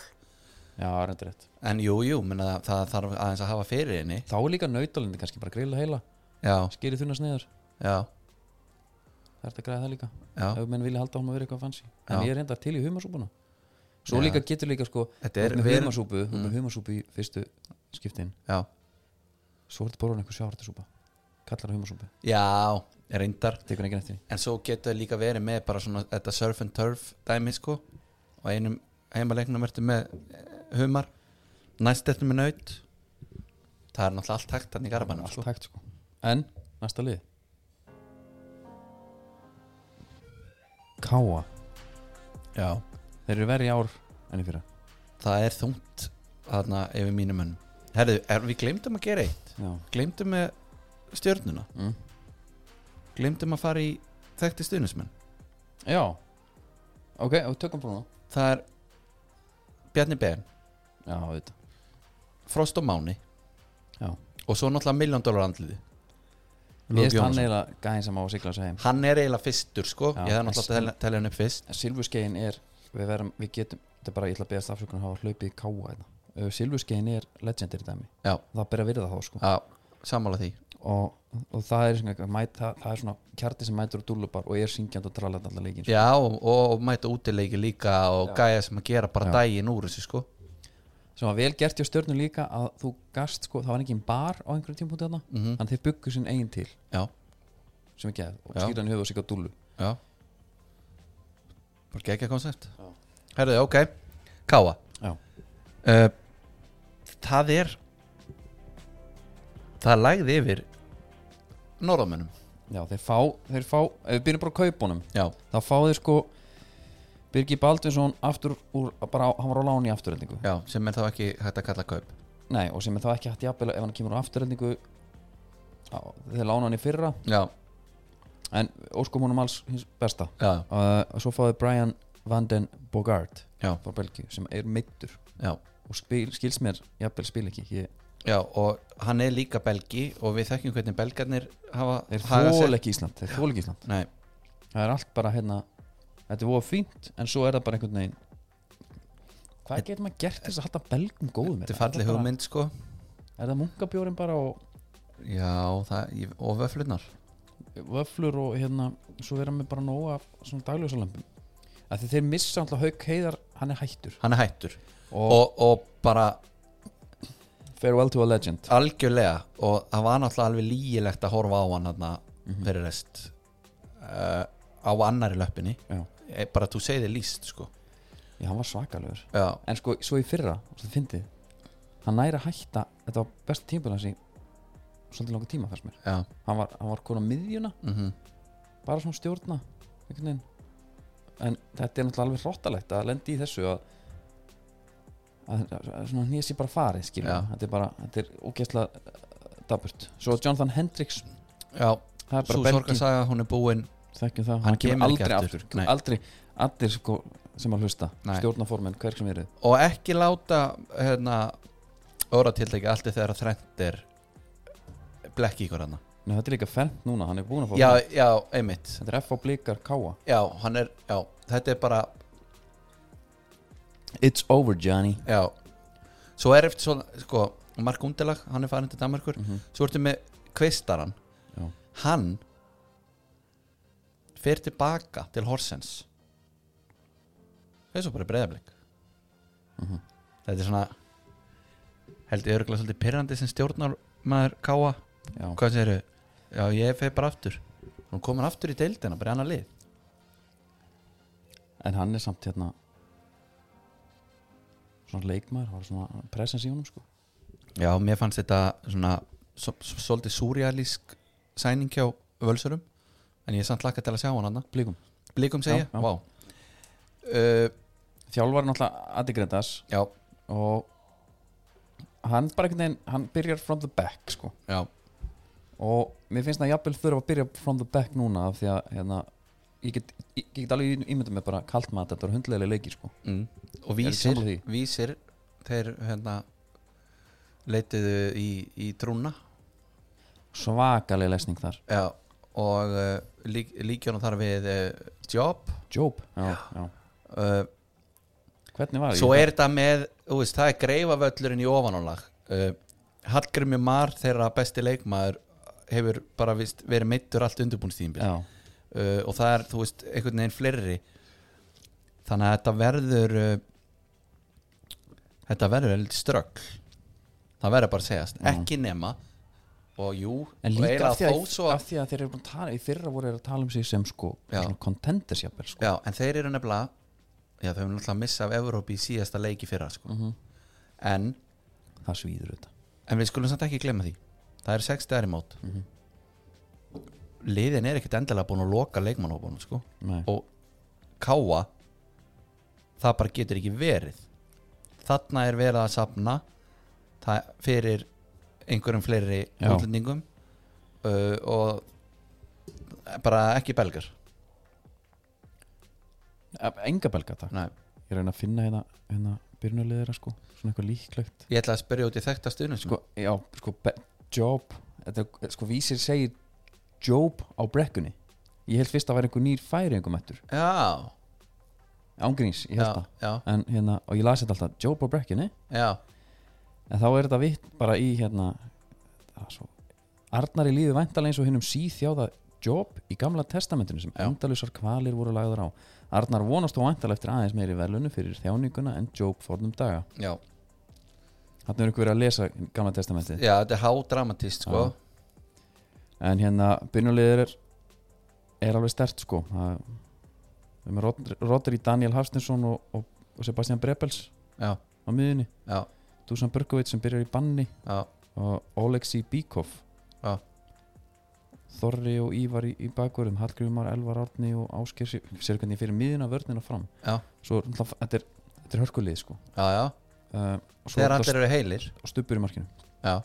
Speaker 1: já, reyndir rétt
Speaker 2: en jú, jú, menna, það, það þarf aðeins að hafa fyrir henni
Speaker 1: þá er líka nautalindi kannski bara grilla heila
Speaker 2: já,
Speaker 1: skýri þunna sniður,
Speaker 2: já,
Speaker 1: það er þetta að græða það líka
Speaker 2: já
Speaker 1: ef menn vilja halda áfram að vera eitthvað fancy en
Speaker 2: Já.
Speaker 1: ég er reynda til í humasúpuna svo
Speaker 2: Já.
Speaker 1: líka getur líka sko
Speaker 2: Þetta
Speaker 1: þú
Speaker 2: er
Speaker 1: ert með
Speaker 2: vel-
Speaker 1: humasúpu, mm. með humasúpu í fyrstu skiptin
Speaker 2: Já,
Speaker 1: svo er þetta borðan einhver sjávartisúpa kallar það humasúpu,
Speaker 2: já, reyndar
Speaker 1: tekur enginn eftir því.
Speaker 2: En svo getur það líka verið með bara svona þetta surf and turf dæmi sko og einum heimaleiknum ertu með eh, humar, næst ertu með naut Það er náttúrulega allt hægt hann í garabænum
Speaker 1: allt
Speaker 2: sko
Speaker 1: hægt sko en, næsta lið Káa
Speaker 2: Já
Speaker 1: Þeir eru verið í ár enn í fyrra
Speaker 2: Það er þungt þarna yfir mínum mönnum Herðu, er, við glemdum að gera eitt
Speaker 1: Já,
Speaker 2: Glemdum með stjörnuna
Speaker 1: Mm.
Speaker 2: Glemdum að fara í þekkti stuðnismenn
Speaker 1: ok, og tökum brúna
Speaker 2: Það er Bjarni Ben,
Speaker 1: Já, auðvitað
Speaker 2: Frost og Máni
Speaker 1: Já.
Speaker 2: og svo náttúrulega miljón dólar andliði
Speaker 1: Mér finnst
Speaker 2: Lúk
Speaker 1: hann
Speaker 2: Jónsson
Speaker 1: eiginlega gæðin sem á að sigla þessu heim
Speaker 2: Hann er eiginlega fyrstur sko
Speaker 1: Já,
Speaker 2: Ég hefði náttúrulega átt að
Speaker 1: næstum.
Speaker 2: telja- telja hann upp fyrst
Speaker 1: Silfurskeiðin er, við verðum, við getum þetta er bara, ég ætla að beðast afsökunar að hafa hlaupið í káa hérna. Uh, Silfurskeiðin er legendir í dæmi
Speaker 2: Já,
Speaker 1: það ber að virða þá sko
Speaker 2: já sammála því
Speaker 1: og, og það, er, svona- mæt, það, það er svona kjarti sem mætur úr dúlubar og er syngjandi og trallandi alltaf leikin sko.
Speaker 2: Já, og, og mæta útileiki líka og gæja sem að gera bara daginn úr þessu sko
Speaker 1: sem var vel gert hjá stjörnum líka að þú gast sko, það var engin bar á einhverjum tímpúti þarna mm
Speaker 2: Mhm.
Speaker 1: -hmm. en þeir byggu sinn eigin til
Speaker 2: Já,
Speaker 1: sem ekki að og
Speaker 2: Já.
Speaker 1: skýra hann höfuð og sigga á dúlu
Speaker 2: já Bara gegja koncept Herðu, ok Káa
Speaker 1: já,
Speaker 2: uh, Það er Það lagði yfir Norðamönnum
Speaker 1: já þeir fá, þeir fá ef við byrjum bara á kaupunum
Speaker 2: Já,
Speaker 1: þá fá þeir sko Birgi Baldvinsson aftur úr, bara á, hann var á láni í afturöldingu
Speaker 2: já, sem er þá ekki hægt að kalla kaup
Speaker 1: nei og sem er þá ekki hægt jafnvel ef hann kemur á afturöldingu þeir lána hann í fyrra
Speaker 2: Já,
Speaker 1: en óskum honum alls hins besta
Speaker 2: já,
Speaker 1: uh, og svo fáið Brian Van Den Bogart
Speaker 2: já,
Speaker 1: frá Belgíu sem er meittur
Speaker 2: já
Speaker 1: og spil, skils mér, jafnvel spil ekki ég,
Speaker 2: Já, og hann er líka belgi og við þekkjum hvernig belgarnir hafa
Speaker 1: þeir
Speaker 2: hagað sér.
Speaker 1: þól ekki Ísland þeir þól ekki Ísland,
Speaker 2: Nei,
Speaker 1: það er allt bara hérna þetta er voða fínt en svo er það bara einhvern veginn hvað getur maður gert til þess að halda belgum góðum
Speaker 2: þetta er
Speaker 1: hérna?
Speaker 2: fallið
Speaker 1: það bara-
Speaker 2: hugmynd sko
Speaker 1: er það munkabjórin bara og
Speaker 2: Já, það, ég- og vöflunar
Speaker 1: vöflur og hérna svo vera með bara nóga svona dagljósalömpum að þeir missa alltaf haug heiðar hann er hættur
Speaker 2: Hann er hættur
Speaker 1: og,
Speaker 2: og, og bara
Speaker 1: farewell to a legend
Speaker 2: algjörlega og það var náttúrulega alveg lýgilegt að horfa á hann hann fyrir rest uh, á annari löppinni
Speaker 1: já.
Speaker 2: Eh, bara þú segir þið líst sko
Speaker 1: já, hann var svakalegur
Speaker 2: já,
Speaker 1: en sko, svo í fyrra, svo þið fyndið hann næri að hætta, þetta var besta tímpil hans í svolítið langa tíma fannst mér
Speaker 2: já,
Speaker 1: hann var, hann var konar miðjuna,
Speaker 2: mm
Speaker 1: bara svona stjórna einhvern veginn en þetta er náttúrulega alveg hróttalegt að lendi í þessu að að, að svona nýja sér bara farið skilja,
Speaker 2: Já.
Speaker 1: þetta er bara, þetta er ógeðslega daburt, svo Jonathan Hendricks
Speaker 2: já
Speaker 1: það er
Speaker 2: svo
Speaker 1: bara belgi,
Speaker 2: sorgarsaga hún er búin
Speaker 1: þekkjum það, hann,
Speaker 2: Hann
Speaker 1: kemur
Speaker 2: kemur ekki
Speaker 1: aldrei
Speaker 2: aftur.
Speaker 1: aftur,
Speaker 2: Nei.
Speaker 1: aldrei allir sko, sem að hlusta,
Speaker 2: Nei.
Speaker 1: stjórnaformen hver sem verið,
Speaker 2: og ekki láta hérna óratildegi allt er þegar þrengt er blekki ykkur hann
Speaker 1: Nei, þetta er líka fermt núna, hann er búin að fá
Speaker 2: já, já, einmitt
Speaker 1: Þetta er F á blikar káa
Speaker 2: já, hann er, já, þetta er bara
Speaker 1: It's over Johnny
Speaker 2: Já Svo er eftir svona, sko, Mark Undelag hann er farin til Danmarkur Svo ertu með Kveistaran
Speaker 1: Já.
Speaker 2: Hann fer tilbaka til Horsens eins og bara breyðablik Þetta er svona held ég örgulega svolítið pyrrandi sem stjórnar maður káa
Speaker 1: Já,
Speaker 2: Hvað segirðu? Já, ég fer bara aftur Hún komur aftur í deildina, bara í annað lið
Speaker 1: en hann er samt hérna Svona leikmaður, það var svona presens í honum sko
Speaker 2: Já, mér fannst þetta svona svo- svo- svolítið súrjalísk sæning hjá völsurum en ég er samt laka til að sjá hann hann
Speaker 1: Blikum
Speaker 2: Blikum segja,
Speaker 1: Já, já.
Speaker 2: vá uh,
Speaker 1: Þjálfari náttúrulega Adi Gretas
Speaker 2: Já,
Speaker 1: Og hann bara einhvern veginn, hann byrjar from the back sko
Speaker 2: já,
Speaker 1: Og mér finnst það jafnvel þurfa að byrja from the back núna Af því að hérna Ég get, ég, ég get alveg ímyndað mér bara kalt maður Þetta var hundlega leikir sko
Speaker 2: mm. og
Speaker 1: Eru
Speaker 2: vísir,
Speaker 1: sammála því?
Speaker 2: vísir þeir hérna leitiðu í, í trúna
Speaker 1: Svakaleg lesning þar
Speaker 2: já, og uh, lík, líkjónum þar við uh, job
Speaker 1: Job Já, já
Speaker 2: uh,
Speaker 1: Hvernig var
Speaker 2: Svo
Speaker 1: Ég-
Speaker 2: er þetta með, þú veist, það er greifavöllurinn í ofanálag uh, Hallgrimmi Mar þeirra besti leikmaður hefur bara vist, verið meittur allt undirbúinstíðinbíl uh,
Speaker 1: Já,
Speaker 2: og það er, þú veist, einhvern veginn fleiri þannig að þetta verður uh, þetta verður eitthvað ströggl það verður bara að segjast, ekki nema og jú,
Speaker 1: En
Speaker 2: og
Speaker 1: líka af því, að,
Speaker 2: eiginlega þó svo
Speaker 1: af því að þeir eru búin að tala í fyrra voru þeir að tala um sig sem sko
Speaker 2: Já.
Speaker 1: svona contenders jafnvel sko.
Speaker 2: Já, en þeir eru nefnilega já, þau hefur náttúrulega missað af Evrópi í síðasta leiki fyrra, sko
Speaker 1: Mhm.
Speaker 2: en
Speaker 1: það svíður auðvitað
Speaker 2: En við skulum samt ekki glemma því Það er 6 dagar í mót
Speaker 1: Mhm.
Speaker 2: Liðin er ekkert endilega búin að loka leikmannhópunum sko.
Speaker 1: Nei.
Speaker 2: Og káa Það bara getur ekki verið Þarna er verið að sapna það, Fyrir einhverjum fleiri
Speaker 1: Já.
Speaker 2: útlendingum uh, Og Bara ekki belgar
Speaker 1: eh, enga belga takk
Speaker 2: Nei.
Speaker 1: ég reyna að finna hérna, hérna byrnulegðira sko svona eitthvað líklegt
Speaker 2: Ég ætla að spyrja út í þekta stundum sko.
Speaker 1: sko, já, sko, be- job þetta, er- sko, vísir segir Job á brekkunni ég held fyrst að það væri einhver nýr færi einhver mættur
Speaker 2: Já,
Speaker 1: ángríns, Mm. ég
Speaker 2: já,
Speaker 1: held það
Speaker 2: já,
Speaker 1: en, hérna, og ég lasi þetta alltaf, Job á brekkunni
Speaker 2: já
Speaker 1: en þá er þetta vitt bara í hérna það er svo, Arnari líði væntalega eins og hinnum síþjáða Job í gamla testamentinu sem
Speaker 2: Já.
Speaker 1: endalusar kvalir voru lagður á Arnar vonast og væntalega eftir aðeins meiri velunu fyrir þjáninguna en Job fornum daga
Speaker 2: Já,
Speaker 1: Þannig er einhver verið að lesa gamla testamentið
Speaker 2: já þetta er hádramatist sko
Speaker 1: En hérna, byrjulegir er, er alveg stert sko Það- Við erum með Rod- Rodri Daniel Hafstinsson og, og, og Sebastian Brebels
Speaker 2: Já,
Speaker 1: á miðunni
Speaker 2: já,
Speaker 1: Dusan Burkovits sem byrjar í banni
Speaker 2: já,
Speaker 1: og Oleksi Bíkov
Speaker 2: Já.
Speaker 1: Þorri og Ívar í, í bakvörðum Hallgrímar, Elvar Árni og Ásker sér sér hvernig ég fyrir miðuna vörnina fram
Speaker 2: Já.
Speaker 1: Svo er náttúrulega- þetta er, þetta er hörkulið sko
Speaker 2: já, já
Speaker 1: uh, Svo
Speaker 2: Þegar
Speaker 1: er
Speaker 2: allir
Speaker 1: þetta
Speaker 2: eru heilir
Speaker 1: stubbur í markinu
Speaker 2: Já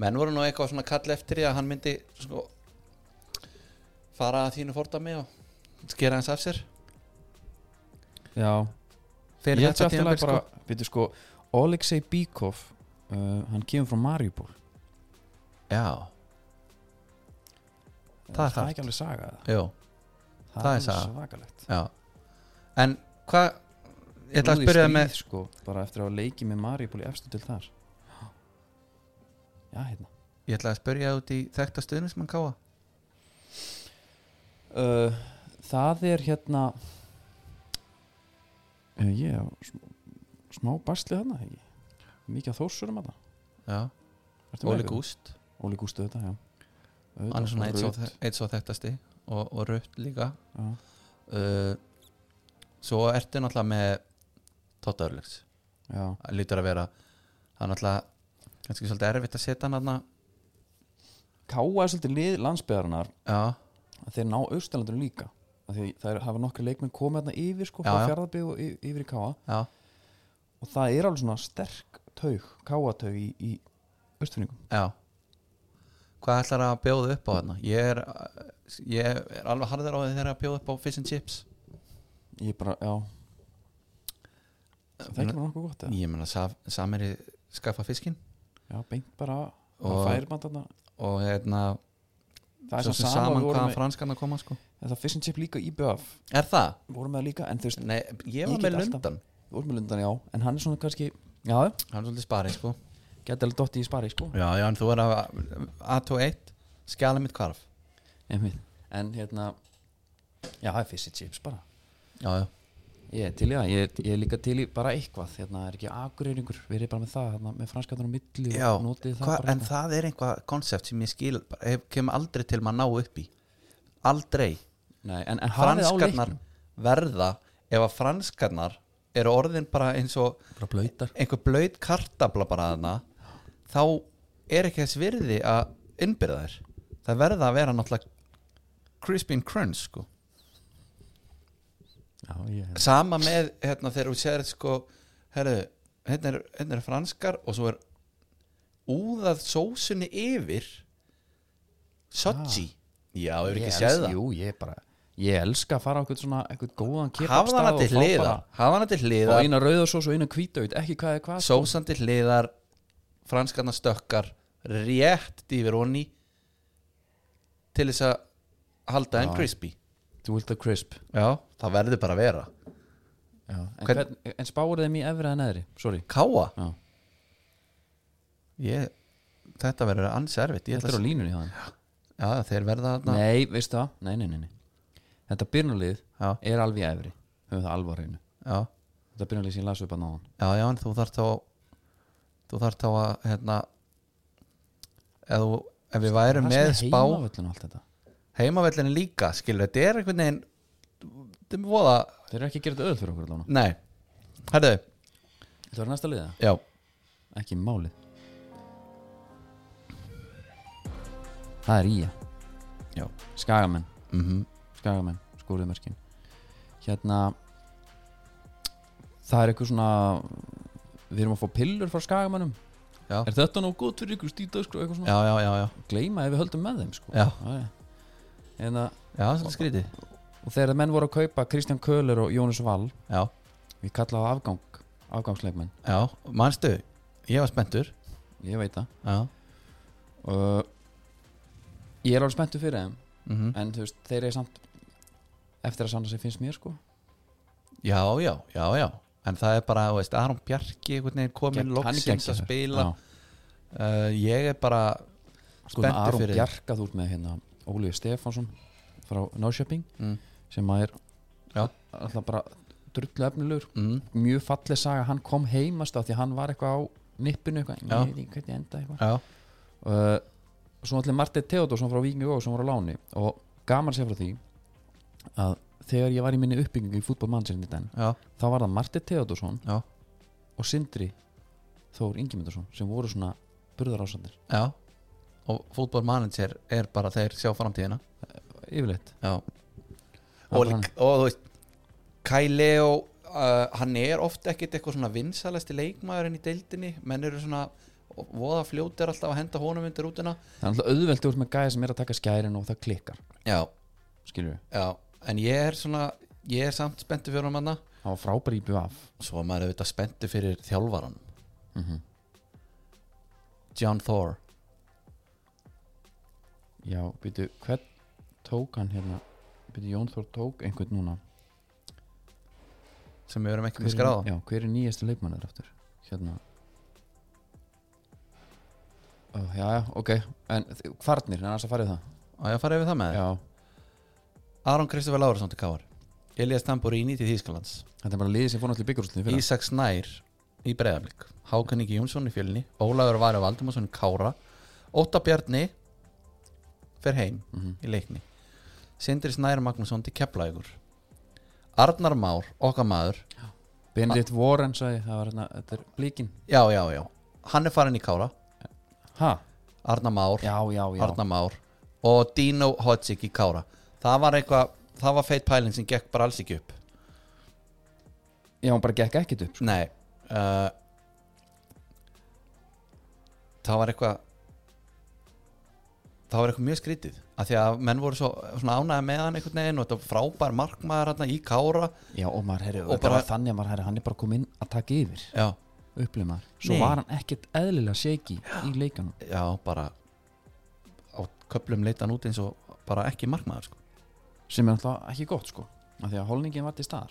Speaker 2: Menn voru nú eitthvað svona kall eftir í að hann myndi sko fara að þínu fordami og skera hans af sér
Speaker 1: Já,
Speaker 2: Fyrir
Speaker 1: ég held
Speaker 2: þetta
Speaker 1: sér
Speaker 2: tímabil
Speaker 1: alltaf
Speaker 2: sko
Speaker 1: bara, veitu sko Oleksij Bíkov uh, hann kemur frá Marjúból
Speaker 2: Já, Það er hart.
Speaker 1: ekki alveg saga það
Speaker 2: jú,
Speaker 1: það,
Speaker 2: Það er
Speaker 1: alveg
Speaker 2: saga.
Speaker 1: svakalegt
Speaker 2: já En hvað Ég ætla að
Speaker 1: Flúði
Speaker 2: spyrja
Speaker 1: stríð,
Speaker 2: það með
Speaker 1: sko, bara eftir að leiki með Marjúból í efstu til þar já hérna
Speaker 2: Ég ætla að spyrja út í þekta stuðnismann káa
Speaker 1: uh, það er hérna uh, ég á smá, smá basli þarna ekki mikið að þórsurum að
Speaker 2: Já,
Speaker 1: það
Speaker 2: Óli Gúst
Speaker 1: Óli Gústu þetta, já Auðvitað,
Speaker 2: Hann er svona eitt svo,
Speaker 1: rödd,
Speaker 2: eitt svo þektasti og, og rött líka
Speaker 1: já.
Speaker 2: uh, Svo ertu náttúrulega með Tóta Örlegs
Speaker 1: já,
Speaker 2: Það lítur að vera það er náttúrulega kannski svolítið erfitt að setja hann aðna
Speaker 1: Káa er svolítið lið landsbyðarinnar
Speaker 2: já,
Speaker 1: að þeir ná austalandunum líka að því það er, hafa nokkri leikmenn komið hérna yfir sko,
Speaker 2: Já,
Speaker 1: frá
Speaker 2: já.
Speaker 1: fjárðabíð og y- yfir í káa
Speaker 2: já,
Speaker 1: og það er alveg svona sterk taug, káataug í, í austfinningum
Speaker 2: já hvað ætlar að bjóða upp á þarna ég er, ég er alveg harður á því þegar að bjóða upp á fish and chips
Speaker 1: ég bara, já, það er ekki bara nokkuð gott eða?
Speaker 2: ég meina saf, samir skaffa fiskin
Speaker 1: já, beint bara, það
Speaker 2: Og-
Speaker 1: fær maður þarna
Speaker 2: og hérna
Speaker 1: það er
Speaker 2: svo
Speaker 1: svona
Speaker 2: sem
Speaker 1: sama,
Speaker 2: saman
Speaker 1: við vorum
Speaker 2: hvaðan
Speaker 1: með
Speaker 2: franskan að koma sko
Speaker 1: þetta fish and chip líka í BF
Speaker 2: er það?
Speaker 1: vorum með það líka, en þú veist,
Speaker 2: Nei, ég var
Speaker 1: Ég get
Speaker 2: með
Speaker 1: alltaf-
Speaker 2: lundan
Speaker 1: við vorum með lundan, já en hann er svona kannski, já,
Speaker 2: hann er svolítið sparið sko
Speaker 1: geti alveg dotti í spari sko
Speaker 2: já, já, en þú er að A21 skjala mitt kvarf
Speaker 1: Einmitt. en hérna já, það er fish and chips bara
Speaker 2: já, já,
Speaker 1: Ég er til í það, ég er, ég er líka til í bara eitthvað hérna er ekki akureyringur, við erum bara með það hérna, með franskarnar á milli
Speaker 2: já
Speaker 1: og notið það
Speaker 2: hva,
Speaker 1: bara
Speaker 2: en
Speaker 1: hérna.
Speaker 2: það er einhvað konsept sem ég skil bara, hef, kem aldrei til maður að ná upp í aldrei
Speaker 1: Nei, en, en hafið á
Speaker 2: franskarnar
Speaker 1: leiknum
Speaker 2: verða ef að franskarnar eru orðin bara eins og
Speaker 1: bara blöytar
Speaker 2: einhver blöyt kartabla bara þarna þá er ekki þess virði að innbyrða þær það verða að vera náttúrulega crispy and crunch sko
Speaker 1: Já, ég,
Speaker 2: sama með hérna þegar þú sér sko herru, hérna er, hérna er franskar og svo er úðað sósunni yfir sochi já, hefur ekki
Speaker 1: ég
Speaker 2: séð það
Speaker 1: Jú, ég bara, ég elska að fara á eitthvað svona eitthvað góðan
Speaker 2: hafa
Speaker 1: kebabstað
Speaker 2: hana til hliðar hafa hana til
Speaker 1: og
Speaker 2: hliðar,
Speaker 1: eina rauðarsós og eina hvítaut ekki hvað er hvað
Speaker 2: sósan til hliðar franskarna stökkar rétt yfir honni til þess að halda en crispy
Speaker 1: Þú vilt að crisp
Speaker 2: já, það verður bara að vera
Speaker 1: Já. En,
Speaker 2: Hvern-
Speaker 1: hvern, en spáur þeim í efra en eðri, sorry
Speaker 2: káa
Speaker 1: Já.
Speaker 2: ég, þetta verður anservitt
Speaker 1: Þetta er á línunni hjá þeim
Speaker 2: Já, þeir verða þarna
Speaker 1: Nei, veistu það, nei, nei, nei, nei. Þetta byrnulið
Speaker 2: Já.
Speaker 1: er alveg í efri höfum það alvar hreinu
Speaker 2: já,
Speaker 1: Þetta byrnulið sem ég las upp að náðan
Speaker 2: já, já, en þú þarf þá þú þarf þá að hérna, ef, þú, ef við værum
Speaker 1: Það
Speaker 2: með
Speaker 1: sem er
Speaker 2: spá
Speaker 1: heimavöllin og allt þetta
Speaker 2: heimavellinu líka, skilur, þetta er einhvern veginn þetta er voða,
Speaker 1: Þeir eru ekki að gera þetta öðvöld fyrir okkur allavega
Speaker 2: nei Herðu,
Speaker 1: Þetta var næsta liða,
Speaker 2: já,
Speaker 1: ekki málið Það er Ía
Speaker 2: já
Speaker 1: Skagamenn,
Speaker 2: mm
Speaker 1: Skagamenn, skóriðmörkin Hérna Það er eitthvað svona Við erum að fá pillur frá Skagamennum
Speaker 2: já.
Speaker 1: Er þetta nóg gott fyrir ykkur stíta sko, eitthvað svona
Speaker 2: já, já, já, já,
Speaker 1: Gleima ef við höldum með þeim sko
Speaker 2: Já.
Speaker 1: Það er- Hérna,
Speaker 2: já, svolítið skrítið
Speaker 1: og þegar menn voru að kaupa Kristján Köhler og Jónus Wall
Speaker 2: Já,
Speaker 1: Við kallaði afgang, afgangsleikmenn
Speaker 2: já, manstu ég var spenntur
Speaker 1: Ég veit það
Speaker 2: Já,
Speaker 1: uh, ég er alveg spenntu fyrir þeim
Speaker 2: Mhm.
Speaker 1: en þú veist, þeir eru samt eftir að sanna sig finnst mér sko
Speaker 2: Já, já, já, já En það er bara, þú veist, Aron Bjarki einhvern veginn komin
Speaker 1: Gegn- hann er
Speaker 2: loksins að
Speaker 1: geggjaður.
Speaker 2: spila
Speaker 1: Já.
Speaker 2: uh, Ég er bara
Speaker 1: sko með
Speaker 2: Spenntur
Speaker 1: Aron
Speaker 2: fyrir þeim.
Speaker 1: Bjarka þú ert með hérna Óliði Stefánsson frá Norrköping
Speaker 2: Mm.
Speaker 1: sem að er
Speaker 2: Já.
Speaker 1: alltaf bara drullu efnilegur
Speaker 2: mm,
Speaker 1: mjög falleg saga, hann kom heimast af því að hann var eitthvað á nippinu eitthvað,
Speaker 2: Já.
Speaker 1: ég veit ekki hvernig enda eitthvað
Speaker 2: Já,
Speaker 1: uh, svo allir Martin Theodorsson frá Víkingu og sem var á láni og gaman sér frá því að þegar ég var í minni uppbyggingu í fútbolmannsirinn í den
Speaker 2: já,
Speaker 1: þá var það Martin Theodorsson
Speaker 2: Já.
Speaker 1: og Sindri Þór Ingimundarsson sem voru svona burðarásandir
Speaker 2: já Og fútbolmanager er bara þeir sjá framtíðina
Speaker 1: yfirleitt
Speaker 2: Já
Speaker 1: Það
Speaker 2: og,
Speaker 1: er
Speaker 2: lík, og þú veist Kai Leo, uh, hann er oft ekkit eitthvað svona vinsalæsti leikmaðurinn í deildinni menn eru svona voða fljótir alltaf að henda honum undir rútina
Speaker 1: það er alltaf auðvelt úr með gæði sem er að taka skærin og það klikkar
Speaker 2: Já,
Speaker 1: skilur við,
Speaker 2: já, en ég er svona ég er samt spenntu fyrir hann manna
Speaker 1: það var frábæri í BVF
Speaker 2: svo er maður auðvitað spenntu fyrir þjálfaran Mhm. John Thor
Speaker 1: já, býtu, hvern tók hann hérna býtu, Jón Þór tók einhvern núna
Speaker 2: sem við erum ekki með
Speaker 1: hver
Speaker 2: skráða
Speaker 1: er, já, hver er nýjastu leikmannur aftur hérna Ó, já, já, ok en þi- kvarnir, en annars að farið það
Speaker 2: og ég farið við það með þér
Speaker 1: já,
Speaker 2: Aron Kristoffer Lárasson til Káar Elias Tamburini til Þýskalands
Speaker 1: þetta er bara liðið sem fór náttúrulega byggurústinni fyrir
Speaker 2: Ísak Snær í Breiðaflik Hákan Ingi Jónsson í fjölni Ólafur Varjó Valdimarsson í Kára Óta Bjarni fer heim
Speaker 1: Mhm.
Speaker 2: í leikni Sindri Snær Magnússon til Keflægur Arnar Már, okkar maður
Speaker 1: Benedikt Warren sagði, það var hérna, þetta er blíkin
Speaker 2: já, já, já, hann er farin í Kára
Speaker 1: ha,
Speaker 2: Arnar Már
Speaker 1: já, já, já
Speaker 2: Arna Már og Dino Hodzik í Kára það var eitthvað, það var feit pæling sem gekk bara alls ekki upp
Speaker 1: já, hún bara gekk ekkit upp sko.
Speaker 2: nei uh, það var eitthvað það var eitthvað mjög skrítið af því að menn voru svo svona ánægði með hann einhvern veginn og þetta var frábær markmaður hann í Kára
Speaker 1: já, og maður, herri,
Speaker 2: Og
Speaker 1: og
Speaker 2: bara-
Speaker 1: bara, þannig að maður, herri, hann er bara kominn að taka yfir
Speaker 2: já,
Speaker 1: upplifum maður, svo
Speaker 2: Nei.
Speaker 1: var hann ekkit eðlilega shaky í leikanum
Speaker 2: já bara á köplum leita hann út eins og bara ekki markmaður sko.
Speaker 1: sem er náttúrulega ekki gott, sko af því að holningin var til staðar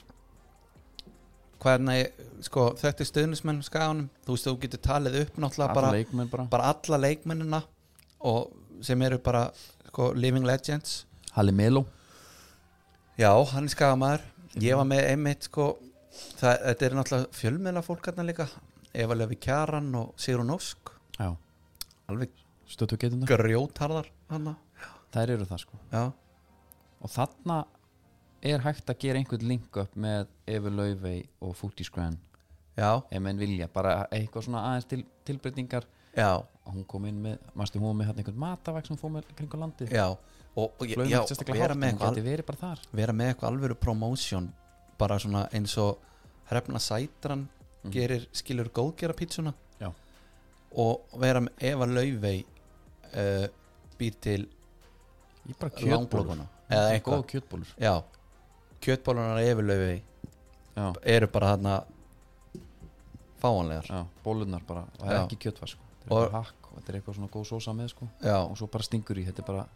Speaker 2: hvernig, sko, þetta er stöðnismenn skaganum, þú veist þú getur talið upp náttúrulega bara
Speaker 1: Alla leikmenn bara,
Speaker 2: bara alla leikmennina og sem eru bara sko, living legends
Speaker 1: Halli Melo
Speaker 2: já, hann er skagamæður ég var með einmitt sko, það, þetta er náttúrulega fjölmiðla fólk hérna líka Eva Lefi Kjaran og Sigrun Ósk
Speaker 1: já,
Speaker 2: alveg
Speaker 1: stötu getum það
Speaker 2: grjótarðar hana
Speaker 1: þær eru það, sko
Speaker 2: já,
Speaker 1: og þarna er hægt að gera einhvern link up með Evu Laufey og Footy Scran
Speaker 2: já,
Speaker 1: ef menn vilja, bara eitthvað svona aðeins til, tilbreytingar
Speaker 2: já,
Speaker 1: og hún kom inn með, mannstu hún var með hérna einhvern matavæk sem hún fór með kringu landið
Speaker 2: já og, og ég-
Speaker 1: Laufey
Speaker 2: já,
Speaker 1: er sérstaklega
Speaker 2: vera
Speaker 1: hátt,
Speaker 2: með
Speaker 1: hún
Speaker 2: eitthvað
Speaker 1: geti verið bara þar
Speaker 2: vera með eitthvað alvöru promotion bara svona eins og hrefna sætran gerir skilur góðgera pítsuna
Speaker 1: Mhm. Já.
Speaker 2: og vera með Eva Laufey uh, býr til
Speaker 1: ég er bara kjötbólur,
Speaker 2: langblókuna eða
Speaker 1: góð
Speaker 2: eitthvað
Speaker 1: kjötbólur
Speaker 2: Já, kjötbólunar Eva Laufey
Speaker 1: já,
Speaker 2: eru bara þarna fáanlegar
Speaker 1: já, bólurnar bara og það er
Speaker 2: Já.
Speaker 1: ekki kjötvar sko, þetta er
Speaker 2: Og-
Speaker 1: bara hakk og þetta er eitthvað svona góð sósa með sko
Speaker 2: Já,
Speaker 1: og svo bara stingur í, þetta er bara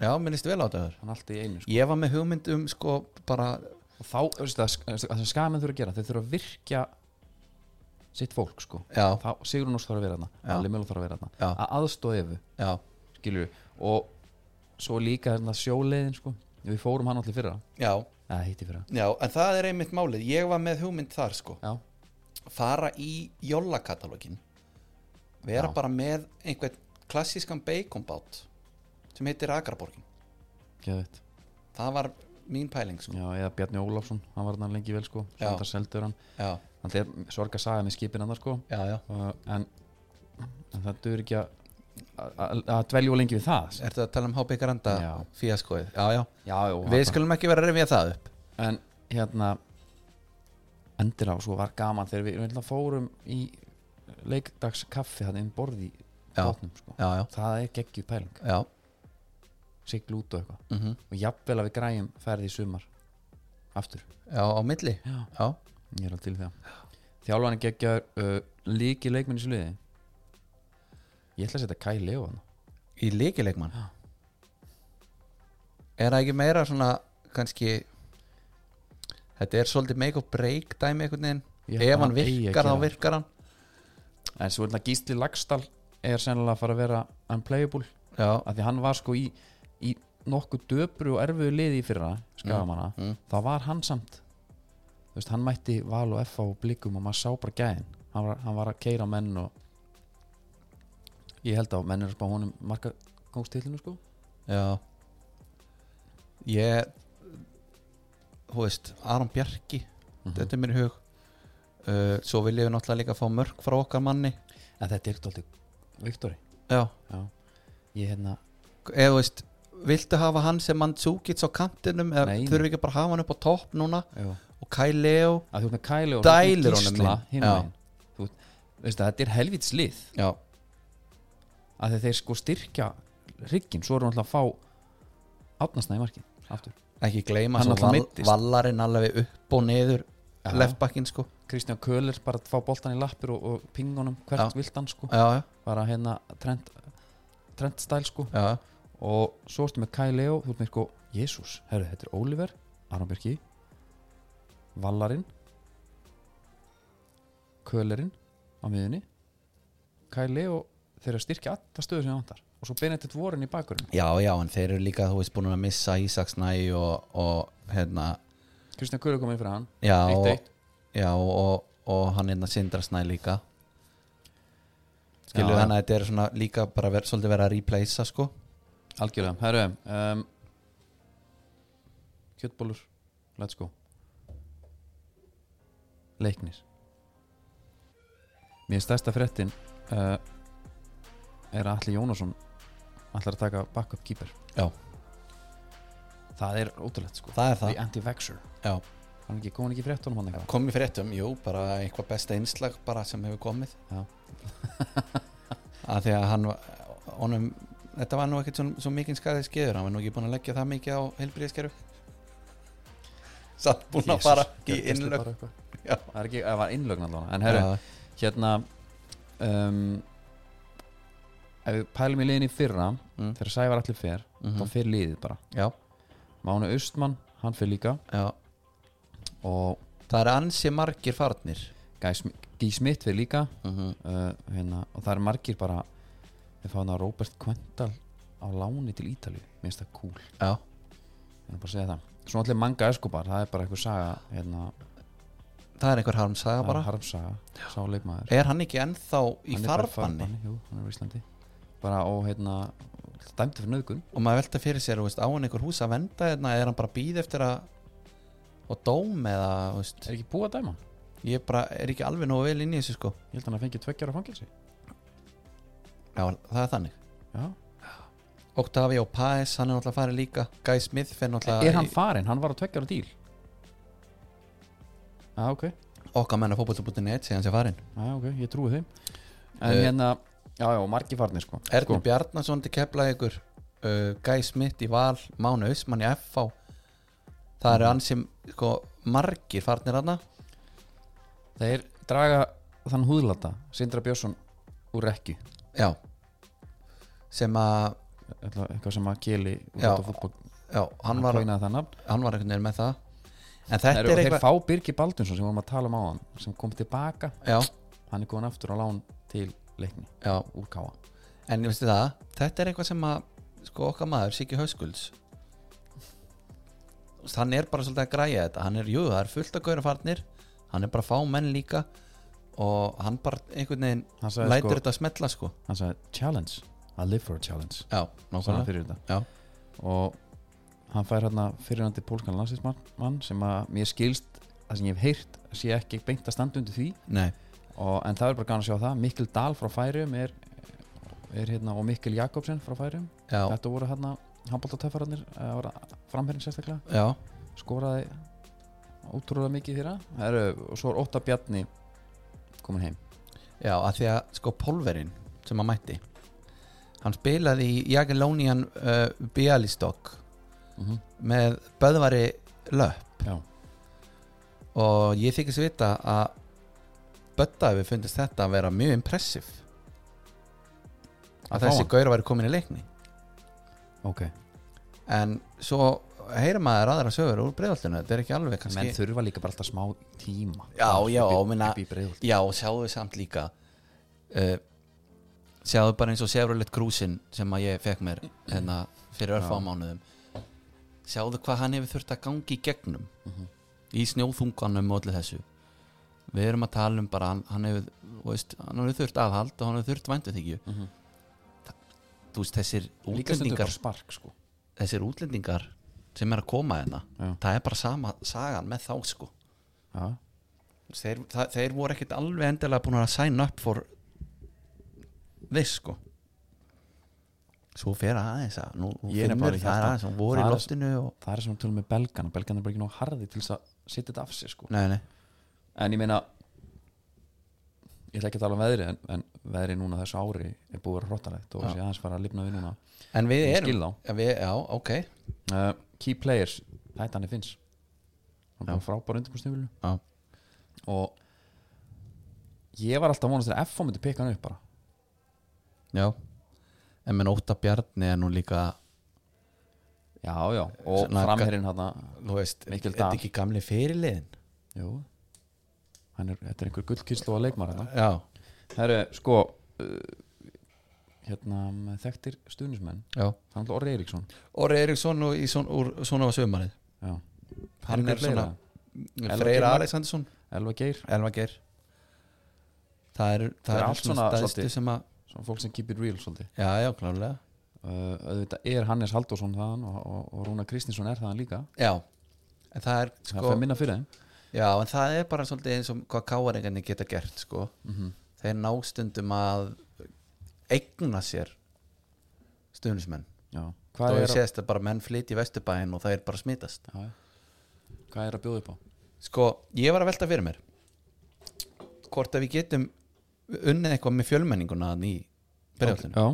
Speaker 2: já minnist vel á þetta þar
Speaker 1: hann allt í einu sko.
Speaker 2: Ég var með hugmynd um sko bara
Speaker 1: og þá, veistu það, það sem skamenn þurfa að gera þeir þurfa að virkja sitt fólk sko
Speaker 2: Já,
Speaker 1: þá, Sigrun Ósk þarf að vera þarna
Speaker 2: Já.
Speaker 1: Alli Mjölu þarf að vera
Speaker 2: Já.
Speaker 1: þarna að aðstóða efu,
Speaker 2: já,
Speaker 1: skilju og svo líka þarna sjóleiðin sko. við fórum hann allir fyrra
Speaker 2: já,
Speaker 1: eða hitti fyrra
Speaker 2: já En það er einmitt málið, ég var með hugmynd þar sko
Speaker 1: já,
Speaker 2: fara í jólakatalógin vera
Speaker 1: Já.
Speaker 2: bara með einhvern klassískan baconbát sem heitir Agraborgin
Speaker 1: geðvitt
Speaker 2: það var mín pæling sko.
Speaker 1: já, eða Bjarni Ólafsson, hann var hann lengi vel sko. svo
Speaker 2: Já.
Speaker 1: þetta seldur hann
Speaker 2: já,
Speaker 1: hann er sorg að saga með skipin hann sko.
Speaker 2: já, já
Speaker 1: uh, en, en það dur ekki að að- að dvelja of lengi við það já,
Speaker 2: Ertu að tala um HB Granda
Speaker 1: Já.
Speaker 2: fíaskoið? Já, já,
Speaker 1: já,
Speaker 2: við
Speaker 1: hann-
Speaker 2: skulum ekki vera að rifja það upp
Speaker 1: en hérna endilega og svo var gaman þegar við, við náttúrulega fórum í leikdagskaffi hann inn borði í
Speaker 2: Já.
Speaker 1: bátnum sko.
Speaker 2: Já, já,
Speaker 1: það er geggju pæling,
Speaker 2: já,
Speaker 1: sigl út og eitthvað
Speaker 2: mhm,
Speaker 1: og jafnvel að við græjum ferði í sumar aftur,
Speaker 2: já á milli
Speaker 1: Já.
Speaker 2: já,
Speaker 1: ég er alveg til í það þjálfarni geggjar uh, líki leikmenn í sliði ég ætla að setja Kai Leo hann
Speaker 2: í líkileikmann
Speaker 1: Já.
Speaker 2: er það ekki meira svona kannski þetta er svolítið make og break dæmi einhvern veginn
Speaker 1: Ég held að
Speaker 2: ef hann
Speaker 1: hann eigi að
Speaker 2: virkar
Speaker 1: gera
Speaker 2: þá
Speaker 1: það.
Speaker 2: virkar hann
Speaker 1: en svo er þetta Gísli Lagstall er sennilega að fara að vera unplayable
Speaker 2: já,
Speaker 1: af því hann var sko í, í nokkuð döpru og erfiðu liði í fyrra skafamanna,
Speaker 2: Mm, mm.
Speaker 1: það var hann samt þú veist, hann mætti val og FH og blikum og maður sá bara gæðin hann var, hann var að keira menn og ég held að menn er að spá honum markagóngstillinu sko
Speaker 2: já ég þú veist, Aron Bjarki
Speaker 1: Mhm.
Speaker 2: þetta er mér í hug uh, svo viljum við náttúrulega líka fá mörg frá okkar manni
Speaker 1: en þetta er alltaf Viktori
Speaker 2: já,
Speaker 1: já, ég hérna
Speaker 2: eða þú veist viltu hafa hann sem mann á kantinum eða
Speaker 1: Nei, nei.
Speaker 2: þurfum við ekki bara að hafa hann upp á topp núna
Speaker 1: já.
Speaker 2: og Kai Leo
Speaker 1: að þú ert með Kæli og
Speaker 2: Dælir honum
Speaker 1: Gísla
Speaker 2: inn.
Speaker 1: hinn
Speaker 2: Já.
Speaker 1: veginn þú veist að þetta er helvits lið
Speaker 2: já,
Speaker 1: að þeir sko styrkja riggin, svo erum við alltaf að fá átnasna í marki aftur
Speaker 2: ekki gleyma
Speaker 1: Hann
Speaker 2: svo
Speaker 1: náttúrulega
Speaker 2: val,
Speaker 1: meiddist.
Speaker 2: vallarinn alveg upp og niður
Speaker 1: Já.
Speaker 2: leftbakkin sko
Speaker 1: Kristján Köhler bara að fá boltan í lappir og, og pingunum hvert
Speaker 2: Já.
Speaker 1: vilt hann sko
Speaker 2: já, já,
Speaker 1: bara hérna trend, trend stæl sko
Speaker 2: já,
Speaker 1: og svo ertu með Kai Leo þú ert með sko, Jésús, herru, þetta er Oliver Aron Björki Vallarinn Kölerinn á miðunni Kai Leo þeir eru að styrkja alltaf stöðu sem hann vantar og svo Benedikt Vorin í bakurinn
Speaker 2: já, já en þeir eru líka þú veist búin að missa Ísaksnæ og, og hérna
Speaker 1: Kristján Köhler kom inn fyrir hann
Speaker 2: já, og,
Speaker 1: 1-1.
Speaker 2: já og, og, og hann hérna Sindrasnæ líka skilur
Speaker 1: Já.
Speaker 2: þannig að þetta er svona líka bara ver, svolítið verið að replacea sko
Speaker 1: Algjörlega, herru um, Kjötbólur, let's go Leiknir Mér stærsta fréttin uh, er að Alli Jónasson ætlar að taka backup keeper
Speaker 2: já,
Speaker 1: Það er ótrúlegt sko
Speaker 2: það er
Speaker 1: The
Speaker 2: það
Speaker 1: anti-vaxxer
Speaker 2: já.
Speaker 1: Hann ekki, kom hann ekki í fréttunum hann eitthvað
Speaker 2: komið fréttum, jú, bara eitthvað besta einslag bara sem hefur komið
Speaker 1: Já.
Speaker 2: að því að hann var- honum, þetta var nú ekkert svo, svo mikið skæðið skeður, hann var nú ekki búin að leggja það mikið á heilbríðiskeru satt búin að
Speaker 1: Jesus,
Speaker 2: fara í
Speaker 1: gerðist þér
Speaker 2: innlög
Speaker 1: bara eitthvað?
Speaker 2: Já.
Speaker 1: Það er ekki, það var innlögn allavega En herru, hérna um, Ef við pælum í liðin í fyrra
Speaker 2: Mm.
Speaker 1: Þegar Sævar allir fer
Speaker 2: Mhm.
Speaker 1: Þá fer liðið bara
Speaker 2: já,
Speaker 1: Máni Austmann, hann fyrir líka
Speaker 2: já
Speaker 1: og
Speaker 2: það er ansi margir farnir
Speaker 1: Guy Sm- Guy Smith fyrir líka
Speaker 2: mm -hmm.
Speaker 1: uh, hérna, og það er margir bara við fáum það Robert Quental á láni til Ítalju, mér finnst það cool ég
Speaker 2: já,
Speaker 1: er bara að segja það svona allir manga Escobar, það er bara eitthvað saga hérna,
Speaker 2: það er einhver harmsaga
Speaker 1: það er
Speaker 2: bara
Speaker 1: harmsaga, sá leikmaður
Speaker 2: er hann ekki ennþá í
Speaker 1: Hann er bara
Speaker 2: farbanni
Speaker 1: jú, hann er á Íslandi bara og hérna, dæmdi fyrir nöðgun
Speaker 2: og maður velta fyrir sér, þú veist, á hann einhver hús að venda hérna, er hann bara býð eftir að og dóm eða, þú veist
Speaker 1: er ekki búið að dæma hann?
Speaker 2: ég bara er ekki alveg nógu vel inn í þessu sko
Speaker 1: ég held að hann að fengi tveggjara fangilsi
Speaker 2: já, það er þannig
Speaker 1: Já.
Speaker 2: Octavi og Paes, hann er náttúrulega farið líka Guy Smith fyrir náttúrulega
Speaker 1: er hann farinn? Hann var á tveggjara díl Já, ok
Speaker 2: í okkar menna fótbollabútin.net síðan sem farinn
Speaker 1: Já, ok, ég trúi þeim En
Speaker 2: Eh,
Speaker 1: hérna, já, já, margir farnir sko
Speaker 2: Erni
Speaker 1: sko,
Speaker 2: Bjarnason til keflaði ykkur uh, Guy Smith í Val, Mána Usman í FV það
Speaker 1: Mhm.
Speaker 2: eru hann sem sko, margir farnir hann
Speaker 1: Þeir draga þann húðlata Sindra Björnsson úr rekki
Speaker 2: já sem að,
Speaker 1: Ætla, Eitthvað sem að keli úr
Speaker 2: Já,
Speaker 1: þetta fútbol
Speaker 2: já, hann
Speaker 1: Hann
Speaker 2: var,
Speaker 1: kóinaði það nafn
Speaker 2: hann var einhvern veginn með það en þetta
Speaker 1: Þeir,
Speaker 2: er
Speaker 1: og Þeir
Speaker 2: eitthvað
Speaker 1: fá Birgi Baldunsson sem við vorum að tala um á hann sem kom tilbaka,
Speaker 2: já,
Speaker 1: hann er komin aftur á lán til leikni
Speaker 2: já,
Speaker 1: úr káa
Speaker 2: En ég veistu það, þetta er eitthvað sem að sko okkar maður, Siggi Hauskulds Þú veist, hann er bara svolítið að græja þetta, hann er, jú, það er fullt að gauðra farnir, hann er bara að fá menn líka og hann bara einhvern veginn
Speaker 1: Hann sagði
Speaker 2: lætur
Speaker 1: sko-
Speaker 2: þetta að smetla sko
Speaker 1: Hann sagði challenge, I live for a challenge
Speaker 2: Já,
Speaker 1: Svo hann
Speaker 2: nákvæmlega
Speaker 1: fyrir þetta
Speaker 2: Já,
Speaker 1: og hann fær hérna fyrirandi pólskan landsinsmann sem að mér skilst það sem ég hef heyrt sé ekki beint að standa undir því
Speaker 2: nei,
Speaker 1: og, en það er bara gaman að sjá það Mikkel Dahl frá Færium er, er hérna og Mikkel Jakobsen frá Færium
Speaker 2: já,
Speaker 1: þetta voru hérna handbóltatöfararnir framherrin sérstaklega
Speaker 2: já
Speaker 1: skoraði ótrúlega mikið þeirra Heru, og svo er Ótta Bjarni komin heim
Speaker 2: Já, að því að sko Pólverin sem að mætti hann spilaði í Jagiellonian uh, Bialystok
Speaker 1: mm -hmm.
Speaker 2: með Böðvari Löpp
Speaker 1: já,
Speaker 2: og ég þykist vita að Bötta hefur fundist þetta að vera mjög impressiv að
Speaker 1: Að fá
Speaker 2: þessi
Speaker 1: hann?
Speaker 2: gaur væri komin í leikni
Speaker 1: ok
Speaker 2: en svo heyrir maður aðra sögur úr breyðaltinu þetta er ekki alveg kannski
Speaker 1: menn þurfa líka bara alltaf smá tíma
Speaker 2: já, já,
Speaker 1: upp í,
Speaker 2: minna,
Speaker 1: upp í Breiðholt.
Speaker 2: já, sjáðu samt líka uh, sjáðu bara eins og Chevrolet Cruisin sem að ég fekk mér hérna fyrir örfá mánuðum sjáðu hvað hann hefur þurft að gangi í gegnum
Speaker 1: Mhm.
Speaker 2: í snjóþunganum og öllu þessu við erum að tala um bara hann, hann hefur, þú veist, hann hefur þurft aðhald og hann hefur þurft væntu þykju þú veist, þessir
Speaker 1: Mhm. líka stundur
Speaker 2: útlendingar
Speaker 1: bara spark sko
Speaker 2: þessir útlendingar sem er að koma hérna
Speaker 1: Já.
Speaker 2: það er bara sama sagan með þá sko
Speaker 1: já,
Speaker 2: þeir, það, þeir voru ekkert alveg endilega búin að sign up for this sko svo fer aðeins að nú, nú
Speaker 1: Ég er
Speaker 2: finnur
Speaker 1: bara í
Speaker 2: það er
Speaker 1: hjarta.
Speaker 2: aðeins, hún voru í
Speaker 1: Það er-
Speaker 2: loftinu og...
Speaker 1: það er sem að tölum með belgana belgana er bara ekki nóg harði til þess að setja þetta af sér sko
Speaker 2: nei, nei,
Speaker 1: en ég meina ég ætla ekki að tala um veðri en, en veðri núna þessu ári er búið að vera hróttalegt og þessi aðeins fara að lifna við núna
Speaker 2: en við
Speaker 1: Ég
Speaker 2: erum
Speaker 1: skil þá.
Speaker 2: ja, við, já, ok já.
Speaker 1: uh, key players, þetta hann er finns hann er frábær undirbúrstífilinu og ég var alltaf að vonast þegar F.O. myndi pika hann upp bara
Speaker 2: já en menn óta bjarni er nú líka
Speaker 1: já, já, og
Speaker 2: Svona-
Speaker 1: framherinn hann
Speaker 2: þú veist, er
Speaker 1: Mikkel
Speaker 2: þetta
Speaker 1: Dahl.
Speaker 2: ekki gamli fyrirliðin
Speaker 1: jú hann er, þetta er einhver gullkyslu að leikmar hann
Speaker 2: já,
Speaker 1: það eru sko uh, hérna með þekktir stuðnismenn
Speaker 2: já
Speaker 1: hann er Orri Eiríksson
Speaker 2: Orri Eriksson úr, son, úr svona var sömarið
Speaker 1: já.
Speaker 2: hann
Speaker 1: Eru
Speaker 2: er
Speaker 1: fleira?
Speaker 2: svona
Speaker 1: Elvar
Speaker 2: Freyr
Speaker 1: Gylfa?
Speaker 2: Alexandersson
Speaker 1: Elva Geir,
Speaker 2: Elva Geir það er,
Speaker 1: Það
Speaker 2: það
Speaker 1: er
Speaker 2: er,
Speaker 1: allt
Speaker 2: svona
Speaker 1: svona
Speaker 2: stæðstu
Speaker 1: svolítið.
Speaker 2: sem að
Speaker 1: svona fólk sem keep it real svolítið
Speaker 2: já, já, klárlega
Speaker 1: uh, auðvitað er Hannes Halldórsson þaðan og, og, og Rúna Kristinsson er þaðan líka
Speaker 2: já, en það er
Speaker 1: það fer
Speaker 2: sko,
Speaker 1: minna fyrir þeim
Speaker 2: já, en það er bara svolítið eins og hvað káaringarnir geta gert sko. þeir ná stundum að eigna sér stuðnismenn
Speaker 1: já.
Speaker 2: þá
Speaker 1: Hvað,
Speaker 2: er
Speaker 1: er að,
Speaker 2: sést að bara menn flyt í vesturbæin og það er bara smitast
Speaker 1: já, já. hvað er að bjóða upp á
Speaker 2: sko, ég var að velta fyrir mér hvort að við getum unnið eitthvað með fjölmenninguna þarna í breyfaldinu
Speaker 1: já,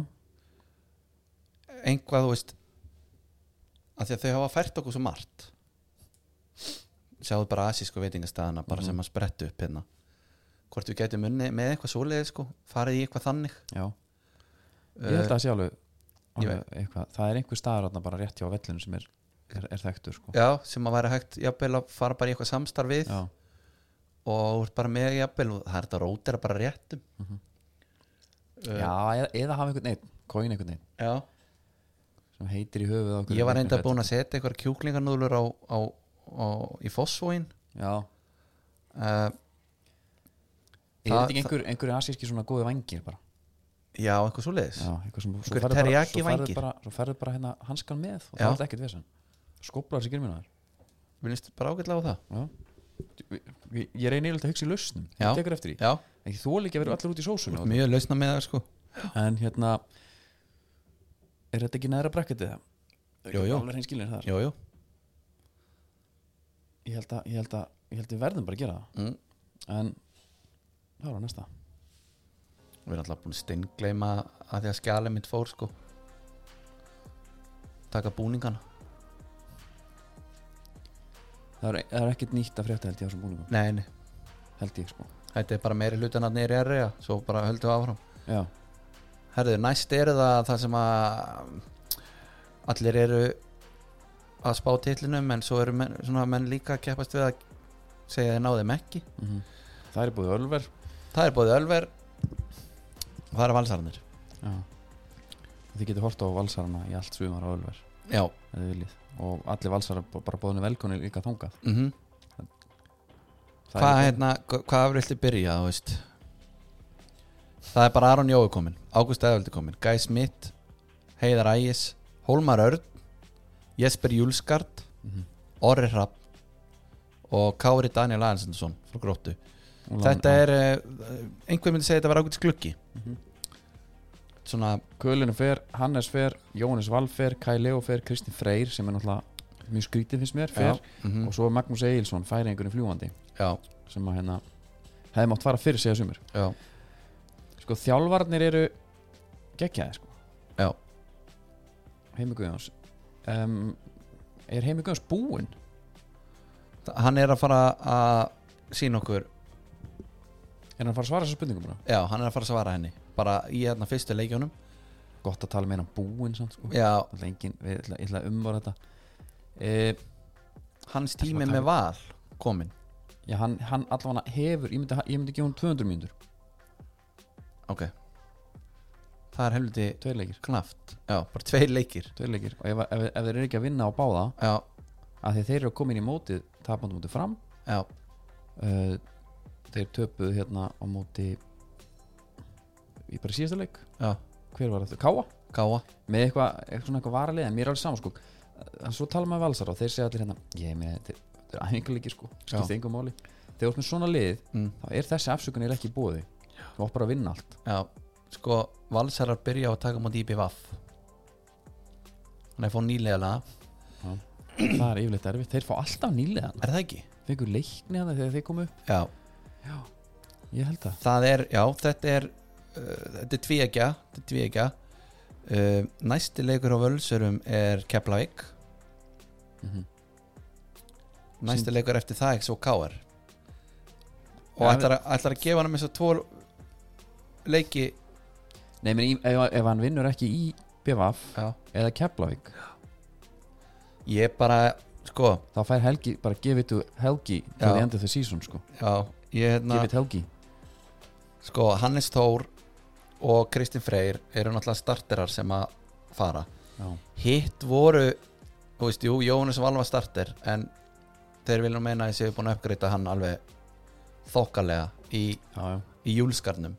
Speaker 2: einhvað, þú veist að því að þau hafa fært okkur svo margt sjáðu bara asísku veitingastæðana bara sem að sprettu upp hérna hvort við getum unni með eitthvað svoleiði sko farið í eitthvað þannig
Speaker 1: já ég held að það sé alveg,
Speaker 2: Eh, ég
Speaker 1: alveg eitthvað, það er einhver staður þarna bara rétt hjá vellinu sem er, er, er þekktur sko.
Speaker 2: já, sem að væri hægt jafnvel að fara bara í eitthvað samstarf við
Speaker 1: já,
Speaker 2: og þú ert bara með jafnvel og það er þetta rótera bara réttum Eh.
Speaker 1: já eða, eða hafa einhvern einn kóin einhvern einn
Speaker 2: já,
Speaker 1: sem heitir í höfuð á einhverjum
Speaker 2: ég var
Speaker 1: einhverjum
Speaker 2: enda
Speaker 1: fett.
Speaker 2: búin að setja eitthvað kjúklingarnúðlur á, á, á, í fósvóin
Speaker 1: já,
Speaker 2: uh,
Speaker 1: er
Speaker 2: Það-
Speaker 1: þetta ekki einhver, einhver asíski svona góði vangir bara
Speaker 2: já, eitthvað svoleiðis
Speaker 1: já, eitthvað sem, svo
Speaker 2: Einhver
Speaker 1: færðu bara,
Speaker 2: teriyaki
Speaker 1: svo færðu
Speaker 2: vængir.
Speaker 1: bara, svo færðu bara hérna hanskan með og
Speaker 2: Já.
Speaker 1: það er ekkert vesen skoplar sér gyrminar
Speaker 2: við líst bara ágætlega á það
Speaker 1: ég, ég reyni eiginlega að hugsa í lausnum
Speaker 2: Já.
Speaker 1: ég tekur eftir í,
Speaker 2: já,
Speaker 1: ekki þú líka að vera allir út í sósunni og-
Speaker 2: mjög lausna með það sko
Speaker 1: en hérna er þetta ekki næra brakketið það?
Speaker 2: Jú, jú.
Speaker 1: alveg hreinskilin þar
Speaker 2: jú, jú
Speaker 1: ég held, að, ég, held að, ég held að við verðum bara að gera það
Speaker 2: Mm.
Speaker 1: en það var á næsta
Speaker 2: Við erum alltaf búin að steingleima að því að skjalið mitt fór sko Taka búningana
Speaker 1: það er, það er ekkert nýtt að frétta held ég á þessum búningum
Speaker 2: Nei, nei,
Speaker 1: held ég sko
Speaker 2: þetta er bara meiri hlutin að nýri erja Svo bara höldum við áfram
Speaker 1: já,
Speaker 2: Herðu, næst er það það sem að Allir eru að spá titlinum En svo eru menn, svona menn líka að keppast við að segja þeir náðum ekki
Speaker 1: mhm. það er búið ölver
Speaker 2: Það er búið Ölver og það eru valsarnir
Speaker 1: já. þið getur hort á valsarana í allt sumar á ölver
Speaker 2: Já,
Speaker 1: ef þið viljið. og allir valsara b- bara bóðinu velkonni líka þangað
Speaker 2: mhm
Speaker 1: Það
Speaker 2: Hvað
Speaker 1: er líka-
Speaker 2: hérna, hva- hvað viltu byrja þú veist Það er bara Aron Jói komin Ágúst Eðaldi komin, Guy Smith Heiðar Ægis, Hólmar Örn Jesper Júlskart Orri Hrapp og Kári Daniel Aðinsson frá Gróttu
Speaker 1: Úlan-
Speaker 2: Þetta
Speaker 1: já.
Speaker 2: er, eh, einhver myndi segja þetta var ágætis gluggi Svona,
Speaker 1: Kölinu fer, Hannes fer, Jóhannes Val fer Kai Leo fer, Kristi Freyr sem er náttúrulega mjög skrítið finnst mér fer
Speaker 2: mhm,
Speaker 1: og svo er Magnús Egilson færi einhvernig fljúandi
Speaker 2: já,
Speaker 1: sem að hérna hefði mátt fara fyrir segja sumur
Speaker 2: já,
Speaker 1: sko þjálfarnir eru geggjaði sko
Speaker 2: já
Speaker 1: Heimi Guðjóns um, er Heimi Guðjóns búinn?
Speaker 2: Þa- Hann er að fara að sína okkur
Speaker 1: er hann að fara að svara þessu spurningum bara?
Speaker 2: Já, hann er að fara að svara henni bara í hérna fyrstu leikjónum
Speaker 1: gott að tala meira um búin samt sko
Speaker 2: Já,
Speaker 1: Það er engin, við ætla, ég ætla að umvara þetta e,
Speaker 2: hans
Speaker 1: Ætlum
Speaker 2: tími
Speaker 1: að
Speaker 2: með val komin
Speaker 1: Já, hann, hann allavega hefur, ég myndi, ég myndi gefa hún 200 mínútur,
Speaker 2: Ok Það er helviti
Speaker 1: tveir leikir
Speaker 2: knaft Já, bara tveir leikir
Speaker 1: Tveir leikir, og ef, ef, ef þeir eru ekki að vinna á báða
Speaker 2: Já,
Speaker 1: að því þeir eru að koma inn í mótið tapandi mótið fram
Speaker 2: já,
Speaker 1: uh, þeir töpuðu hérna á móti í bara síðasta leik
Speaker 2: já
Speaker 1: hver var þetta? Káa?
Speaker 2: Gáa
Speaker 1: með eitthvað, eitthvað svona eitthvað varalið en mér er alveg saman sko en svo tala maður valsar og þeir segja allir hérna ég meina þetta er- þetta er æfingarleiki sko skipt
Speaker 2: Já.
Speaker 1: engum máli þegar þú ert með svona lið
Speaker 2: mm,
Speaker 1: þá er þessi afsökunir ekki búið þú átt bara að vinna allt
Speaker 2: Já, sko Valsarar byrja á að taka múti íbjöf af Hann er fór nýlega laga.
Speaker 1: það er yfirleitt erfitt þeir fá alltaf nýlega
Speaker 2: Er það ekki?
Speaker 1: fengur leikni hana þegar þeir komu upp
Speaker 2: Já,
Speaker 1: ég held það
Speaker 2: það er, já, þetta er uh, Þetta er tvíegja Þetta er tvíegja uh, Næsti leikur á völsurum er Keflavík
Speaker 1: mm
Speaker 2: Næsti leikur eftir það ekki svo káar Og
Speaker 1: Já,
Speaker 2: ætlar, að, ætlar að gefa hann með þess að tvo leiki
Speaker 1: nei menn í- ef, ef hann vinnur ekki í BVF
Speaker 2: Já
Speaker 1: eða Keflavík
Speaker 2: Ég bara, sko
Speaker 1: þá fær Helgi bara give it to Helgi til
Speaker 2: Já.
Speaker 1: the end of the season sko
Speaker 2: Já, ég hérna
Speaker 1: give it Helgi
Speaker 2: Sko, Hannes Þór og Kristinn Freyr eru náttúrulega starterar sem að fara
Speaker 1: já,
Speaker 2: Hitt voru, þú veist, jú, Jónas var alveg starter En þeir viljum meina að ég séu búin að uppgreita hann alveg þokkalega í,
Speaker 1: já, já.
Speaker 2: í júlskarnum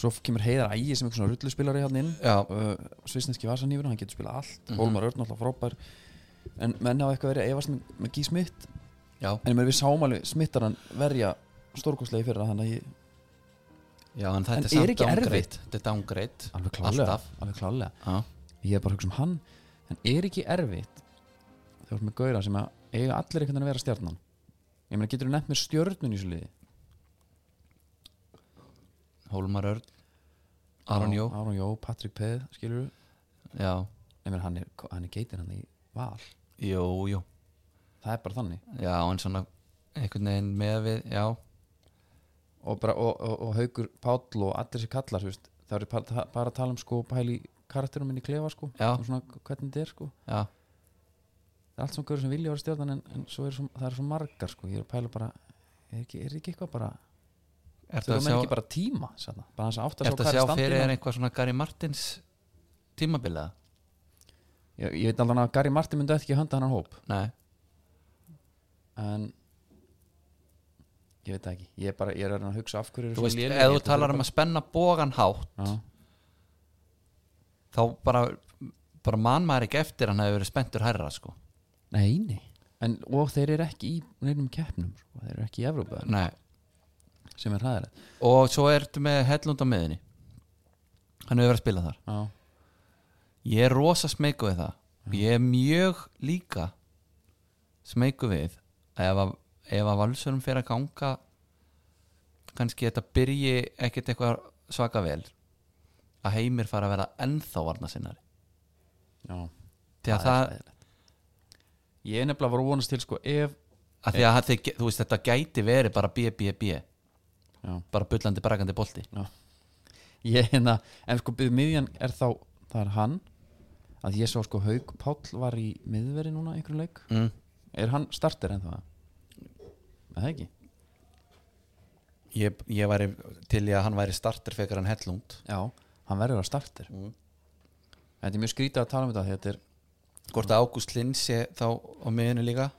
Speaker 1: svo kemur Heiðar Ægi sem eitthvað svona rulluspilari hann inn
Speaker 2: Já,
Speaker 1: uh, svisneski vasanýfur, hann getur spilað allt
Speaker 2: Mhm.
Speaker 1: Hólmar Örn alltaf frábær en menn hafa eitthvað verið að efast með, með Gí Smitt
Speaker 2: já,
Speaker 1: en menn við sáum alveg smittar hann verja stórkostlegi fyrir hann að ég
Speaker 2: já, en
Speaker 1: En
Speaker 2: þetta
Speaker 1: er
Speaker 2: er samt
Speaker 1: ekki
Speaker 2: downgrade
Speaker 1: erfitt?
Speaker 2: Þetta er downgrade
Speaker 1: alveg klárlega,
Speaker 2: Alltaf.
Speaker 1: alveg klárlega
Speaker 2: Já,
Speaker 1: ég er bara að hugsa um hann, en er ekki erfitt þegar þú ert með gauðra sem að eiga allir einhvern veginn að vera stjarnan ég meina getur þú nefnt mér stjörnun í svo liði
Speaker 2: Hólmar Örn Aron Jó,
Speaker 1: Aron Jó, Patrik Peð, skilur
Speaker 2: já,
Speaker 1: Nei, menn, hann er, hann er geitin hann í val
Speaker 2: jú, jú
Speaker 1: það er bara þannig
Speaker 2: Já, en svona einhvern veginn með við, já
Speaker 1: og, bara, og, og, og haugur Páll og allir sér kallar þú veist, það er bara, ta- bara að tala um sko pæli karakterum minni klefa sko
Speaker 2: Já.
Speaker 1: og svona hvernig þetta er sko
Speaker 2: Já,
Speaker 1: það er allt sem görður sem vilja vera stjórnan en, en svo er svo, það er svo margar sko ég er að pæla bara er ekki, er ekki eitthvað bara
Speaker 2: ertu
Speaker 1: þau
Speaker 2: að
Speaker 1: menn ekki
Speaker 2: sjá,
Speaker 1: bara tíma sanna. bara hans átt að
Speaker 2: ertu
Speaker 1: sjá hvað
Speaker 2: að sjá
Speaker 1: er
Speaker 2: fyrir
Speaker 1: standina
Speaker 2: er einhvað svona Gary Martins tímabiliða?
Speaker 1: ég, ég veit alveg að Gary Martin myndi ekki hönda hennar hóp
Speaker 2: Nei,
Speaker 1: en ég veit það ekki ég er bara ég er að reyna að hugsa af hverju
Speaker 2: þú veist, ef þú talar um að spenna bógan hátt
Speaker 1: já,
Speaker 2: þá bara, bara mann maður ekki eftir að hann hefur verið spenntur hærra sko
Speaker 1: nei, nei en, og þeir eru ekki í neinum keppnum sko. þeir eru ekki í Evrópa
Speaker 2: Nei.
Speaker 1: sem er hræðilegt
Speaker 2: og svo ertu með hellund á miðinni hann hefur verið að spila þar
Speaker 1: já,
Speaker 2: ég er rosa smeyku við það ég er mjög líka smeyku við að ef að, ef að valsurum fyrir að ganga kannski þetta byrji ekkert eitthvað svaka vel að heimir fara að vera ennþá varna sinnari
Speaker 1: já
Speaker 2: því að,
Speaker 1: Það er
Speaker 2: það,
Speaker 1: ég er nefnilega var að vonast til sko ef
Speaker 2: að, því að það, þú veist þetta gæti verið bara b, b, b
Speaker 1: já,
Speaker 2: bara bullandi brakandi bolti
Speaker 1: ég hérna en sko byrðu miðjan er þá það er hann að ég sá sko Haug Páll var í miðveri núna einhverjum leik
Speaker 2: mm.
Speaker 1: er hann starter ennþá það? Er það ekki?
Speaker 2: ég, ég væri til í að hann væri starter fekar hann hellund
Speaker 1: já, hann verður að starter
Speaker 2: Mm.
Speaker 1: þetta er mjög skrítið að tala um þetta því þetta er
Speaker 2: hvort að Ágúst Linn sé þá á miðinu líka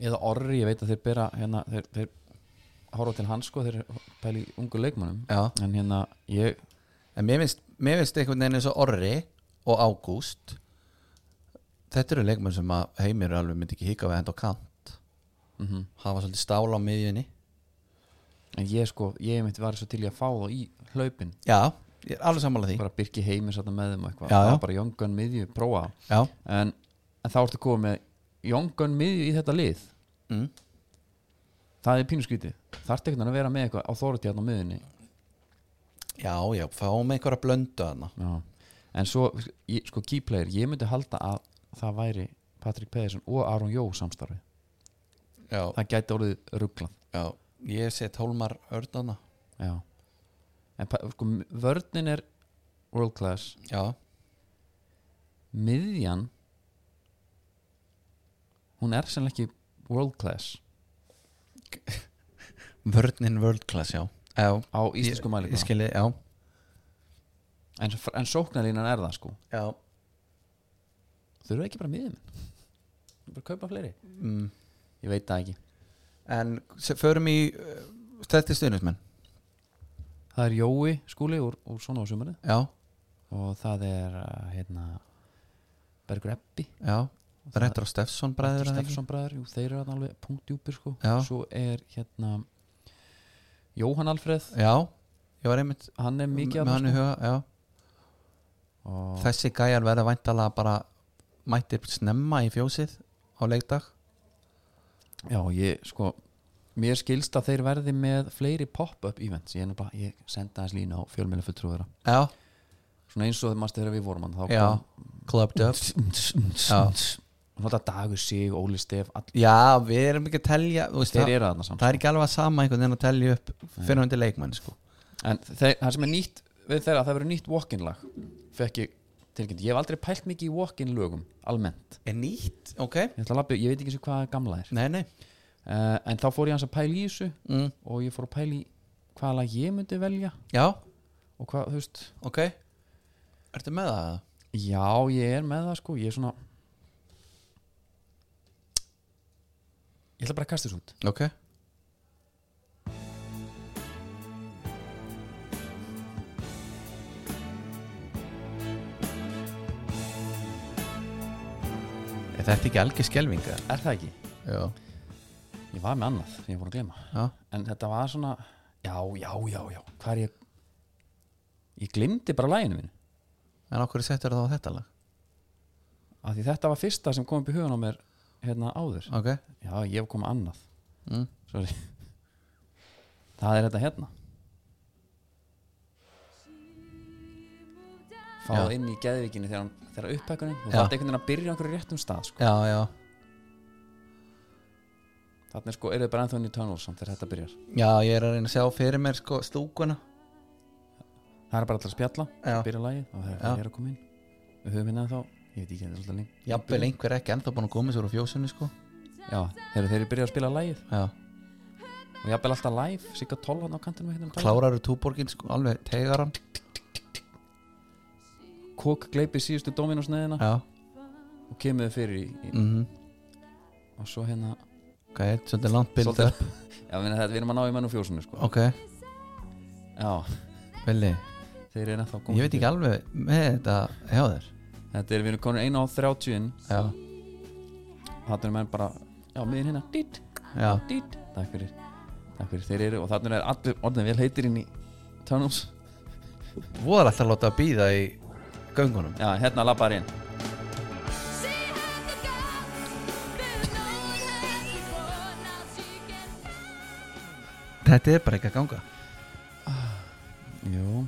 Speaker 1: eða orri, ég veit að þeir bera hérna, þeir, þeir horfa til hans sko þeir pæli í ungu leikmannum
Speaker 2: já
Speaker 1: en hérna, ég
Speaker 2: En mér finnst, mér finnst einhvern veginn eins og Orri og Ágúst Þetta eru leikmenn sem að heimir alveg myndi ekki hika við að henda á kant
Speaker 1: mm
Speaker 2: Hafa svolítið stála á miðjunni
Speaker 1: en ég sko, ég mitt var svo til ég að fá þá í hlaupin
Speaker 2: Já, ég er alveg sammála því
Speaker 1: bara Birki Heimir satna með þeim og eitthvað
Speaker 2: Já, já.
Speaker 1: það var bara Young Gun miðju, prófa það.
Speaker 2: Já,
Speaker 1: en, en þá ertu komið með Young Gun miðju í þetta lið
Speaker 2: mm.
Speaker 1: það er pínuskrítið, þarfti ekkert að vera með eitthvað á þóruti hérna á miðjunni
Speaker 2: já, já, fáum einhverja blöndu þarna
Speaker 1: já. en svo, ég, sko key player ég myndi halda að það væri Patrik Pedersen og Aron Jó samstarfi
Speaker 2: Já,
Speaker 1: það gæti orðið rugglan
Speaker 2: já, ég set Hólmar Örn þarna
Speaker 1: já. en pa- sko, vörnin er world class
Speaker 2: já,
Speaker 1: miðjan hún er sennilega ekki world class
Speaker 2: vörnin world class, já Já,
Speaker 1: á íslensku
Speaker 2: ég, ég
Speaker 1: mælikvarða
Speaker 2: skilji, já
Speaker 1: en, en sóknarlínan er það sko
Speaker 2: Já,
Speaker 1: þau eru ekki bara miðjum bara kaupa fleiri
Speaker 2: mm.
Speaker 1: ég veit það ekki
Speaker 2: en se- förum í uh, þetta stuðnismenn
Speaker 1: það er Jói skúli úr, úr svona á sumari
Speaker 2: Já,
Speaker 1: og það er uh, hérna Bergur Eppi
Speaker 2: já, Rettur og Steffsson bræður er það ekki?
Speaker 1: Stefson bræður, jú, þeir eru þarna alveg punktjúpir sko
Speaker 2: Já.
Speaker 1: svo er hérna Jóhann Alfreð
Speaker 2: Já, ég var einmitt
Speaker 1: hann er mikið þarna,
Speaker 2: með
Speaker 1: sko.
Speaker 2: hann í huga, já
Speaker 1: og
Speaker 2: Þessi gæjar verða væntalega bara mættir snemma í fjósið á leikdag
Speaker 1: Já, ég sko Mér skilst að þeir verði með fleiri pop-up events Ég, er nú bara, ég senda hans lína á fjölmjölu fulltrúðara
Speaker 2: Já,
Speaker 1: Svona eins og maður þegar við vorum hann þá
Speaker 2: já,
Speaker 1: kom-
Speaker 2: clubbed up Já.
Speaker 1: Og Náttúrulega dagur sig, Óli Stef all,
Speaker 2: Já, við erum ekki að telja þú veist,
Speaker 1: Þeir
Speaker 2: það,
Speaker 1: eru þarna samt sko.
Speaker 2: það er ekki alveg að sama einhvern veginn að telja upp fyrirhundi leikmann sko.
Speaker 1: En þeir, það sem er nýtt við þeirra Það verður nýtt walk-in lag Fekk ég tilkynnt Ég hef aldrei pælt mikið í walk-in lögum Almennt
Speaker 2: Er nýtt, ok
Speaker 1: Ég, ætla að labba- ég veit ekki eins og hvað gamla er
Speaker 2: Nei, nei
Speaker 1: uh, En þá fór ég hans að pæla í þessu
Speaker 2: mm.
Speaker 1: Og ég fór að pæla í hvaða lag ég myndi velja
Speaker 2: Já,
Speaker 1: Og hvað, þú veist
Speaker 2: ok Ertu með það?
Speaker 1: Já, ég er með það sko Ég er svona Ég ætla bara að kasta þessu út
Speaker 2: Ok Er þetta ekki algjör skelvinga?
Speaker 1: Er það ekki?
Speaker 2: Já
Speaker 1: Ég var með annað sem ég voru að gleyma
Speaker 2: Já,
Speaker 1: En þetta var svona Já, já, já, já Hvað er ég Ég glimti bara læginu mínu
Speaker 2: en okkur settur það á þetta lag
Speaker 1: Af því þetta var fyrsta sem kom upp í hugan á mér Hérna áður
Speaker 2: Ok
Speaker 1: Já, ég hef komið annað
Speaker 2: mm.
Speaker 1: Sorry Það er þetta hérna Fá
Speaker 2: Já.
Speaker 1: það inn í geðvikinni þegar, hann- þegar upphækunni Þú
Speaker 2: Já.
Speaker 1: þarf einhvern veginn að byrja á einhverju réttum stað sko.
Speaker 2: Já, já
Speaker 1: Þarna er sko, eru þið bara ennþá inn í tunnel samt þegar þetta byrjar
Speaker 2: Já, ég er að reyna að sjá fyrir mér sko stúkuna
Speaker 1: Það er bara allir að spjalla,
Speaker 2: Já.
Speaker 1: byrja lagið og það er- það er að koma inn Við höfum hérna þá, ég veit ekki henni alltaf lengi
Speaker 2: Jafnvel einhver ekki ennþá búin að koma sér úr fjósunni sko
Speaker 1: Já, þegar þeir eru byrjað að spila lagið
Speaker 2: Já
Speaker 1: og jafnvel alltaf live, sigga 12 hann á kantinum hérna um daginn.
Speaker 2: Kláraru túborgin sko, alveg tegar hann
Speaker 1: Kók gleipir síðustu dominusneðina
Speaker 2: Já
Speaker 1: og kemur þau fyrir í, í,
Speaker 2: mm
Speaker 1: og svo hérna
Speaker 2: Ok, svolítið langt build
Speaker 1: Svolítið-
Speaker 2: up
Speaker 1: Já, við erum- við erum að ná í mennum fjósinu sko
Speaker 2: Ok,
Speaker 1: Já,
Speaker 2: Vili,
Speaker 1: þeir eru ennþá
Speaker 2: ég veit ekki alveg með þetta hjá þér
Speaker 1: Þetta er við erum konur 1 á 30 inn
Speaker 2: Já,
Speaker 1: Þarna er menn bara, já, miðin hérna Dít,
Speaker 2: já,
Speaker 1: dít Takk fyrir, takk fyrir þeir eru Og þarna er allir orðin vel heitir inn í tunnels
Speaker 2: voru alltaf að láta að býða í göngunum
Speaker 1: Já, hérna lappar inn
Speaker 2: Þetta er bara ekki að ganga
Speaker 1: Jú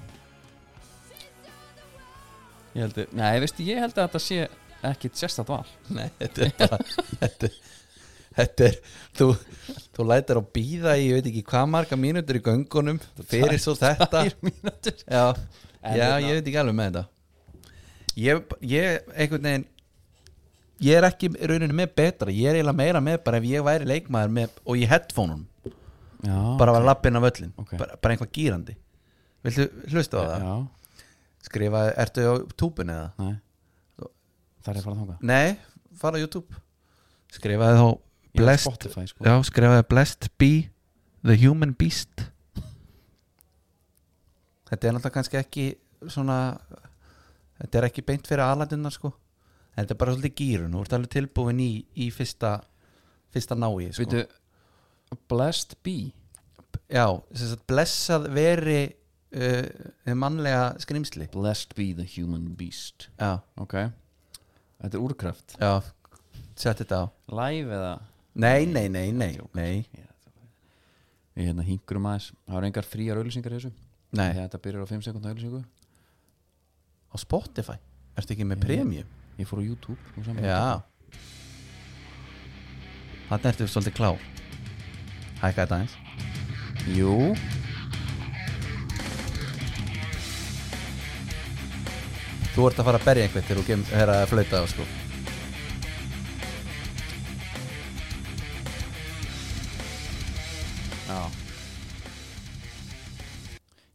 Speaker 1: Ég held að, nei, veistu, ég held að þetta sé ekkit sérstætt val
Speaker 2: Nei, þetta er bara þetta, er- þetta er þú, þú lætir að býða í, ég veit ekki hvað marga mínútur í göngunum fyrir svo þetta
Speaker 1: Þær mínútur
Speaker 2: Já,
Speaker 1: En
Speaker 2: já
Speaker 1: hérna-
Speaker 2: ég veit ekki alveg með þetta Ég, ég einhvern veginn Ég er ekki í rauninni með betra Ég er eiginlega meira með bara ef ég væri leikmaður með, og í headphoneum
Speaker 1: Já,
Speaker 2: bara var lappin af öllin
Speaker 1: Ok.
Speaker 2: bara, bara einhvað gýrandi Viltu hlusta á það?
Speaker 1: Já,
Speaker 2: Skrifa, ertu á túbunni eða?
Speaker 1: nei Það er bara þangað
Speaker 2: Nei, fara á YouTube Skrifaði þá
Speaker 1: Ég er á
Speaker 2: blessed
Speaker 1: Spotify, sko.
Speaker 2: Já, skrifaði Blessed be the human beast Þetta er náttúrulega kannski ekki svona Þetta er ekki beint fyrir aladunnar sko En Þetta er bara svolítið gýrun Þú ert alveg tilbúin í, í fyrsta fyrsta nái sko.
Speaker 1: Veitu, Blessed Bee
Speaker 2: Já, þess að blessað veri uh, hið mannlega skrimsli
Speaker 1: Blessed Bee the Human Beast
Speaker 2: Já,
Speaker 1: Ok Þetta er úrkraft
Speaker 2: já, sett þetta á
Speaker 1: Live eða
Speaker 2: Nei, nei, nei, nei, nei,
Speaker 1: Ég hérna hingur um aðeins Það eru engar fríar auðlýsingar í þessu
Speaker 2: nei.
Speaker 1: Þegar Þetta byrjar á 5 sekundar auðlýsingu
Speaker 2: á Spotify Ertu ekki með premium?
Speaker 1: Ég fór á YouTube nú saman.
Speaker 2: Já Þannig ertu svolítið klár Hækka þetta eins
Speaker 1: Jú
Speaker 2: Þú ert að fara að berja einhvern þegar þú kem- er að flauta þá sko Já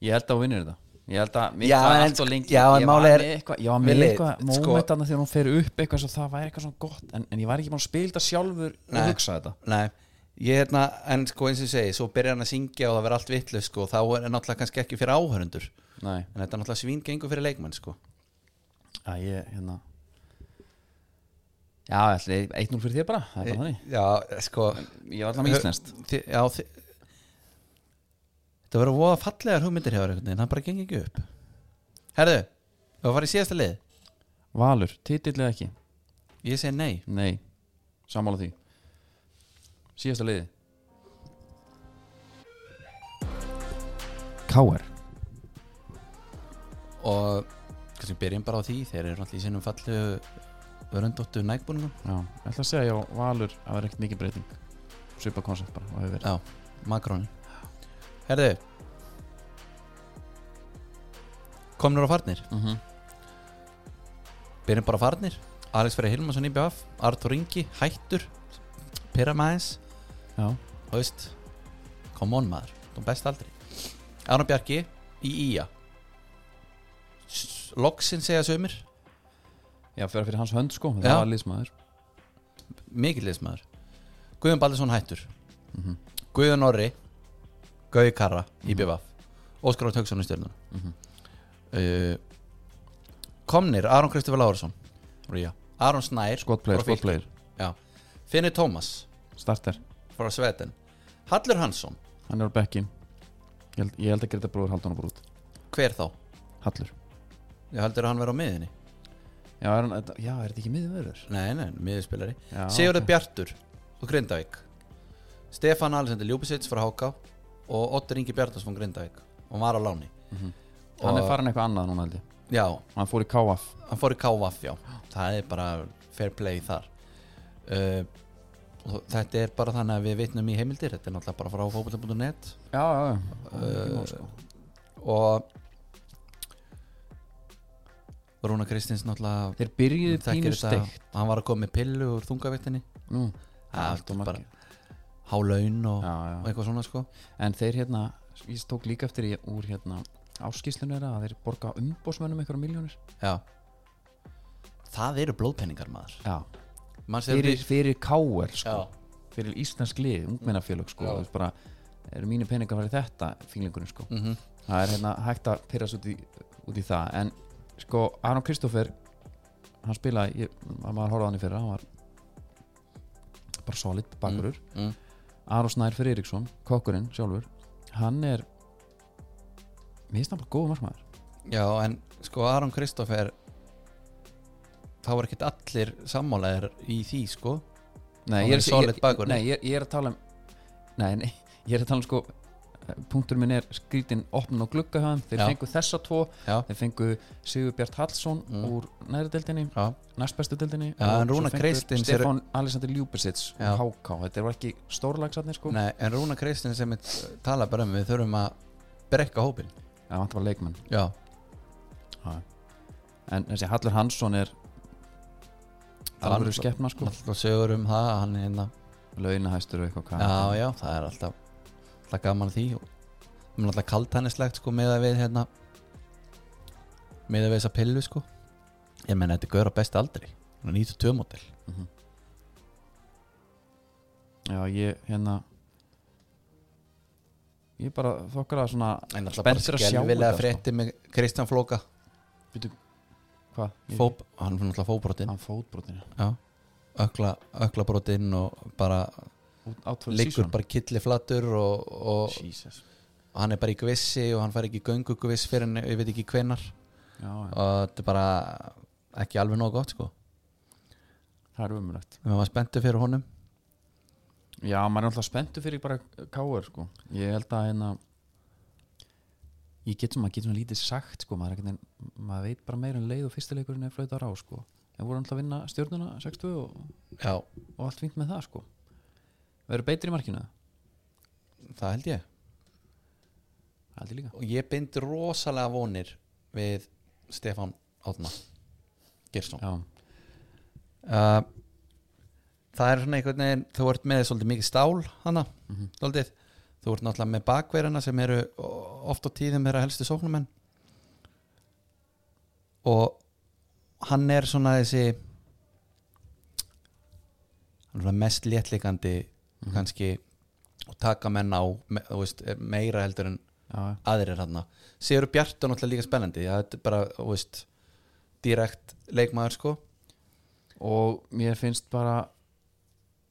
Speaker 1: Ég held að hún vinnur þetta Ég held að
Speaker 2: Já,
Speaker 1: var
Speaker 2: en-
Speaker 1: allt og lengi
Speaker 2: já, en
Speaker 1: Ég
Speaker 2: málið
Speaker 1: var
Speaker 2: er-
Speaker 1: með eitthvað Ég var með
Speaker 2: Villi,
Speaker 1: eitthvað
Speaker 2: sko-
Speaker 1: moment annað þegar hún fer upp eitthvað svo það væri eitthvað svona gott en, en ég var ekki búin að spila þetta sjálfur
Speaker 2: Nei.
Speaker 1: og hugsa þetta
Speaker 2: Nei, ég hérna, en sko eins og ég segi svo byrjar hann að syngja og það verður allt vitlaust sko, þá er náttúrulega kannski ekki fyrir áhörundur en
Speaker 1: Nei,
Speaker 2: þetta er náttúrulega svín gengur fyrir leikmann sko
Speaker 1: að ég, hérna Já, ætli, 1-0 fyrir þér bara, það er bara þannig
Speaker 2: Já, sko
Speaker 1: Ég var allavega með íslenskt
Speaker 2: Þi- Já, þi- þetta verður voða fallegar hugmyndir hefur einhvern veginn, hann bara gengur ekki upp Herðu, við að fara í síðasta lið
Speaker 1: Valur, titill eða ekki?
Speaker 2: Ég segi nei
Speaker 1: Nei, sammála því Síðasta liði K.R.
Speaker 2: og kannski byrjum bara á því þeir eru allir í sinum fallegu vörundóttu nægbúningum
Speaker 1: Já, ég ætla að segja já, Valur að vera ekkert mikið breyting Svipa koncept bara, og hefur verið
Speaker 2: já, makróni herðu komnur og farnir
Speaker 1: Mhm.
Speaker 2: byrjum bara á farnir Alex Freyr Hilmarsson í BF Artur Ingi, Hættur Pyramæðins,
Speaker 1: Já,
Speaker 2: þú veist come on maður, þú best aldrei Arnur Bjarki í Ía Loksin segja sömur
Speaker 1: já fyrir, fyrir hans hönd sko, það
Speaker 2: Já.
Speaker 1: var liðsmaður
Speaker 2: mikill liðsmaður Guðjón Baldursson hættur
Speaker 1: Mhm.
Speaker 2: Guðjón Orri Gauði Karra í BVF Óskar Átt Hauksson í stjörnuna
Speaker 1: Mhm.
Speaker 2: uh, Komnir Aron Kristofur Lárusson Ría. Aron Snær
Speaker 1: Skotplayer,
Speaker 2: frá Fylki.
Speaker 1: skotplayer,
Speaker 2: Já. Finnur Tómas
Speaker 1: starter
Speaker 2: frá Sveten Hallur Hansson,
Speaker 1: Hann er á bekkin Ég held, ég held að Greta bróður haldi hann á brúð
Speaker 2: hver þá?
Speaker 1: Hallur
Speaker 2: Ég heldur að hann vera á miðinni
Speaker 1: Já, er, hann, já, er þetta ekki miðverður?
Speaker 2: Nei, nei, miðspilari
Speaker 1: Já,
Speaker 2: Sigurður
Speaker 1: ok.
Speaker 2: Bjartur og Grindavík Stefán Alessandur Ljúbisits frá Háká og Otter Ingi Bjartars frá Grindavík og var á láni
Speaker 1: Hann er
Speaker 2: Og-
Speaker 1: farin eitthvað annað núna held ég
Speaker 2: Já,
Speaker 1: Hann fór í KF
Speaker 2: hann fór í KVF já það er bara fair play þar uh, og þetta er bara þannig að við vitnum í heimildir þetta er náttúrulega bara frá fókbólta.net
Speaker 1: Já, já, já
Speaker 2: Uh,
Speaker 1: uh, sko.
Speaker 2: og Rúna Kristins náttúrulega
Speaker 1: Þeir byrjuðu
Speaker 2: þekkir
Speaker 1: pínu steikt
Speaker 2: hann var að koma með pillu úr þungavittinni
Speaker 1: Nú,
Speaker 2: Það er
Speaker 1: allt og
Speaker 2: bara-
Speaker 1: margir.
Speaker 2: hálaun og,
Speaker 1: Já, já.
Speaker 2: og eitthvað svona sko
Speaker 1: En þeir hérna, ég tók líka eftir í, úr hérna áskýslunum þeirra að þeir borga umbósmönnum einhverja miljónir
Speaker 2: já það eru blóðpenningar maður
Speaker 1: Já,
Speaker 2: Manstu þegar
Speaker 1: fyrir,
Speaker 2: við-
Speaker 1: fyrir KL sko
Speaker 2: Já.
Speaker 1: Fyrir íslensk lið, ungmennafélög sko
Speaker 2: Já.
Speaker 1: Það er bara, eru mínu peningar fyrir þetta fílingurinn sko
Speaker 2: Mhm.
Speaker 1: Það er hérna hægt að pyrrast út í, út í það En sko, Aron Kristoffer Hann spilaði, ég, maður horfði á hann í fyrra Hann var bara solid bakurur
Speaker 2: mm.
Speaker 1: Aron Snær fyrir Eriksson, kokkurinn sjálfur Hann er Mér finnst hann bara góð markmaður
Speaker 2: Já, en sko Aron Kristoffer þá er ekkert allir sammálaðir í því sko
Speaker 1: Nei,
Speaker 2: Hann
Speaker 1: ég
Speaker 2: er
Speaker 1: er,
Speaker 2: solid
Speaker 1: ég,
Speaker 2: bakvörður.
Speaker 1: nei ég, ég er að tala um Nei, nei, ég er að tala um sko Punktur minn er skrítin opnun og glugga hann Þeir
Speaker 2: Já.
Speaker 1: fengu þessa tvo
Speaker 2: Já.
Speaker 1: Þeir fengu Sigur Bjart Hallsson úr næri deildinni,
Speaker 2: Já,
Speaker 1: næst bestu deildinni
Speaker 2: Mm. Já,
Speaker 1: og
Speaker 2: en
Speaker 1: svo
Speaker 2: Rúnar
Speaker 1: fengu
Speaker 2: Kristins er-
Speaker 1: Stefán Alexander Ljúbisits
Speaker 2: Já.
Speaker 1: Háká, þetta var ekki stórlagsatni sko
Speaker 2: Nei, en Rúna Kristins sem við tala bara um við þurfum að brekka hópin
Speaker 1: Það vantar bara leikmenn
Speaker 2: Já,
Speaker 1: En þessi Hallur Hansson er
Speaker 2: Hann-
Speaker 1: Alvöru skeppna sko
Speaker 2: alltaf sögur um það að hann er hérna
Speaker 1: Launahæstur og eitthvað hvað
Speaker 2: Já, já, það er alltaf alltaf gaman að því og það er alltaf kalt hannislegt sko með að við hérna með að við þessa pillu sko ég menn þetta gör á besta aldri Hann er 92 mótil
Speaker 1: Já, ég hérna Ég bara þokkar að svona
Speaker 2: en alltaf bara
Speaker 1: Spenntur að sjá
Speaker 2: skelvilega
Speaker 1: þetta, sko.
Speaker 2: frétti með Kristján Flóka
Speaker 1: Býtu, hvað? Ég-
Speaker 2: Fóp, hann er alltaf fóbrotinn
Speaker 1: Hann fótbrotinu
Speaker 2: Já, ökla, öklabrotinn og bara liggur bara killi flattur og, og
Speaker 1: Jesus
Speaker 2: hann er bara í gvissi og hann fær ekki göngu gviss fyrir en ég veit ekki hvenar
Speaker 1: Já, já,
Speaker 2: og þetta er bara ekki alveg nóg gott sko
Speaker 1: það er umrætt
Speaker 2: við varum spenntu fyrir honum
Speaker 1: Já, maður er alltaf spenntu fyrir bara káur sko Ég held að hérna Ég get sem maður getur svona lítið sagt sko maður, er einhvern veginn, maður veit bara meira en leið og fyrstileikurinn er flautar á sko En voru alltaf að vinna stjórnuna 60 og,
Speaker 2: Já,
Speaker 1: og allt fínt með það sko Verður beitir í markinu?
Speaker 2: það held ég
Speaker 1: Aldrei líka
Speaker 2: og ég bind rosalega vonir við Stefan átna Geirsson
Speaker 1: já,
Speaker 2: uh, það er svona einhvern veginn þú ert með svolítið mikið stál hana svolítið, þú ert náttúrulega með bakverðina sem eru o- oft á tíðum þeirra helstu sóknumenn og hann er svona þessi hann er svona mest léttlikandi kannski og taka menn á me, þú veist, er meira heldur en
Speaker 1: já, já,
Speaker 2: aðrir hann Sigur Bjart er náttúrulega líka spennandi það er bara, þú veist direkt leikmaður sko
Speaker 1: og mér finnst bara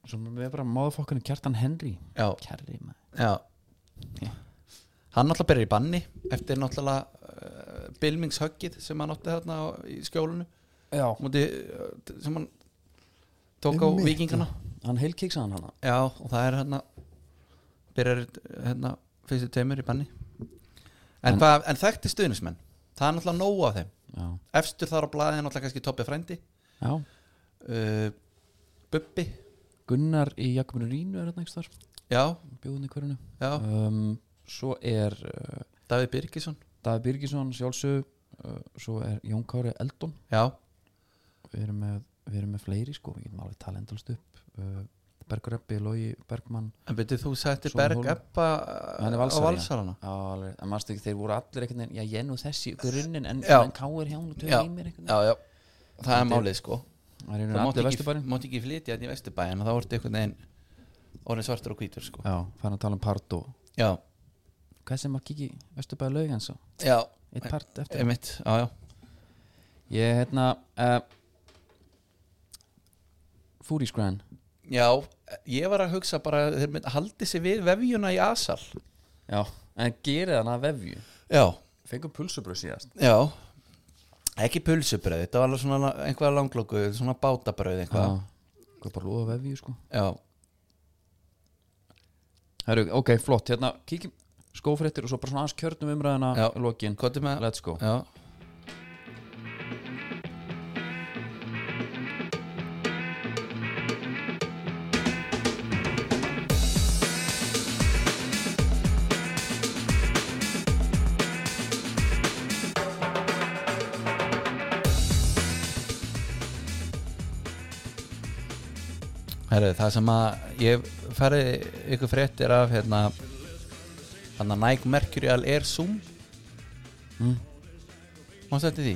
Speaker 1: sem við bara máðfokkanu Kjartan Henry
Speaker 2: Já,
Speaker 1: Kjarri maður
Speaker 2: Já
Speaker 1: Já.
Speaker 2: Hann náttúrulega byrjar í banni eftir náttúrulega uh, Bilmingshöggið sem hann átti þarna á, í skjólinu
Speaker 1: Já,
Speaker 2: múti, sem hann tók á
Speaker 1: Einmitt,
Speaker 2: vikingana
Speaker 1: hann heilkiksaði hann hana
Speaker 2: Já, og það er hérna byrjar hérna fyrstu tveimur í banni En,
Speaker 1: En-
Speaker 2: hvað, en þekkti stuðnismenn það er náttúrulega nóg af þeim
Speaker 1: Já,
Speaker 2: Efstur þar á blaðið er náttúrulega kannski Tobbi Frændi
Speaker 1: já.
Speaker 2: uh, Bubbi
Speaker 1: Gunnar í Jakobinu Rínu er hérna ekki þar
Speaker 2: Já,
Speaker 1: bjóðin í hverjunu
Speaker 2: já,
Speaker 1: um, Svo er uh,
Speaker 2: Davíð Birgisson
Speaker 1: Daði Birgisson sjálfsög uh, Svo er Jón Kári Eldon
Speaker 2: Já,
Speaker 1: Við erum með, við erum með fleiri sko Við getum alveg tala endalst upp uh, Bergur Eppi, Logi Bergmann
Speaker 2: en byrju þú sættir
Speaker 1: Svona
Speaker 2: Berg
Speaker 1: hólm.
Speaker 2: Eppa
Speaker 1: Hann er
Speaker 2: á
Speaker 1: Valsari, já.
Speaker 2: Valsarana
Speaker 1: Já, alveg, en mannstu ekki, þeir voru allir einhvern veginn Já, ég nú þessi í grunninn en,
Speaker 2: Já.
Speaker 1: en káir hjá hún og
Speaker 2: Já.
Speaker 1: töðu í mér einhvern
Speaker 2: já, já. það er
Speaker 1: Þetta er-
Speaker 2: málið sko
Speaker 1: veginn Það er
Speaker 2: það
Speaker 1: einhvern
Speaker 2: mátti
Speaker 1: allir
Speaker 2: ekki,
Speaker 1: vesturbærin
Speaker 2: mátti ekki flytja þetta í vesturbæin og það vorti einhvern veginn orðin svartur og hvítur sko
Speaker 1: Já, farin að tala um part og
Speaker 2: já,
Speaker 1: Hvað sem að kikki vesturbæði laug eins og
Speaker 2: já,
Speaker 1: Eitt part eftir
Speaker 2: einmitt já, já,
Speaker 1: Ég hérna uh, Fúris Grand
Speaker 2: já, ég var að hugsa bara að þeir mynd, haldi sér við vefjuna í asal
Speaker 1: Já, en gerði hann að vefju
Speaker 2: já,
Speaker 1: Fengum pulsubröð síðast
Speaker 2: já ekki pulsubröð, þetta var alveg svona einhverja langlóku, svona bátabröð
Speaker 1: Hvað?
Speaker 2: eitthvað,
Speaker 1: Hvað bara lofa vefju sko
Speaker 2: já,
Speaker 1: Herru, ok, flott, hérna kíkjum skófréttir og svo bara svona aðeins kjörnum umræðina
Speaker 2: Já.
Speaker 1: í lokin,
Speaker 2: hvað er með
Speaker 1: let's go
Speaker 2: já, Herru, það sem að ég færði ykkur fréttir af hérna þannig að Nike Mercurial Air Zoom mm. Mástu eftir því?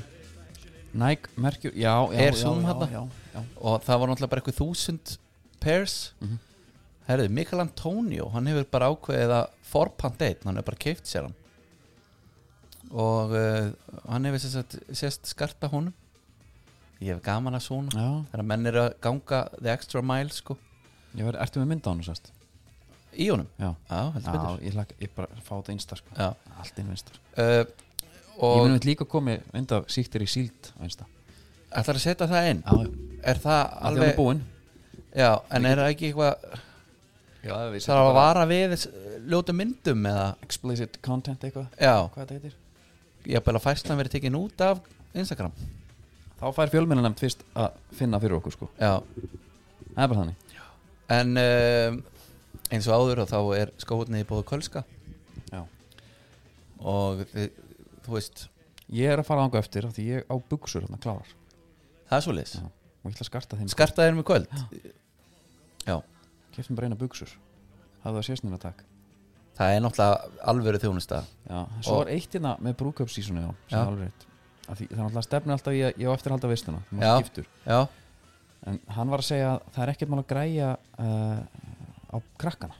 Speaker 1: Nike, Merkur, já, já,
Speaker 2: Er
Speaker 1: já,
Speaker 2: Zoom
Speaker 1: já,
Speaker 2: þarna?
Speaker 1: já, já,
Speaker 2: og það var náttúrulega bara eitthvað þúsund pairs Herru, Mikael Antonio hann hefur bara ákveðið að forpant einn, hann hefur bara keift sér hann og uh, hann hefur sérst, sérst skarta honum ég hef gaman að svona
Speaker 1: já
Speaker 2: þegar menn eru að ganga the extra mile sko,
Speaker 1: Ég verði, ertu með mynda á hann sérst?
Speaker 2: í honum
Speaker 1: Já,
Speaker 2: Já, heldur
Speaker 1: já,
Speaker 2: betur
Speaker 1: ég, lak, ég bara fá þetta einsta sko
Speaker 2: Já.
Speaker 1: Allt inn einsta
Speaker 2: uh,
Speaker 1: Ég
Speaker 2: og
Speaker 1: munum líka komið mynd af síktir í síld á einsta
Speaker 2: ætlar að setja það inn
Speaker 1: Já, já,
Speaker 2: er það
Speaker 1: alveg hann er
Speaker 2: alveg
Speaker 1: búinn
Speaker 2: já, en er það ekki eitthvað
Speaker 1: Já, við
Speaker 2: það að vara við ljóta myndum eða,
Speaker 1: Explicit content eitthvað,
Speaker 2: já,
Speaker 1: hvað þetta heitir
Speaker 2: ég hef bara fæslan verið tekin út af Instagram
Speaker 1: Þá fær fjölmennanemt fyrst að finna fyrir okkur sko
Speaker 2: já,
Speaker 1: Það er bara þannig
Speaker 2: en um, eins og áður og þá er skóðni búið kölska
Speaker 1: Já.
Speaker 2: og þið, þú veist
Speaker 1: Ég er að fara ánga eftir af því ég á buksur hérna klárar
Speaker 2: það er svoleiðis,
Speaker 1: Já. og ég ætla að skarta þeim
Speaker 2: skartaðir með kvöld já,
Speaker 1: Keftum bara eina buksur Hafðu það sérsnina takk
Speaker 2: það er náttúrulega alvöru þjónusta
Speaker 1: Já, svo
Speaker 2: Og-
Speaker 1: er eitt hérna með brúköpsísonu já, sem
Speaker 2: Já.
Speaker 1: er alveg rétt Af því, Það er náttúrulega stefni alltaf í að ég á eftir að halda veistuna þú
Speaker 2: Já.
Speaker 1: mást giftur
Speaker 2: já,
Speaker 1: En hann var að segja að það er ekkert mál að græja uh, á krakkana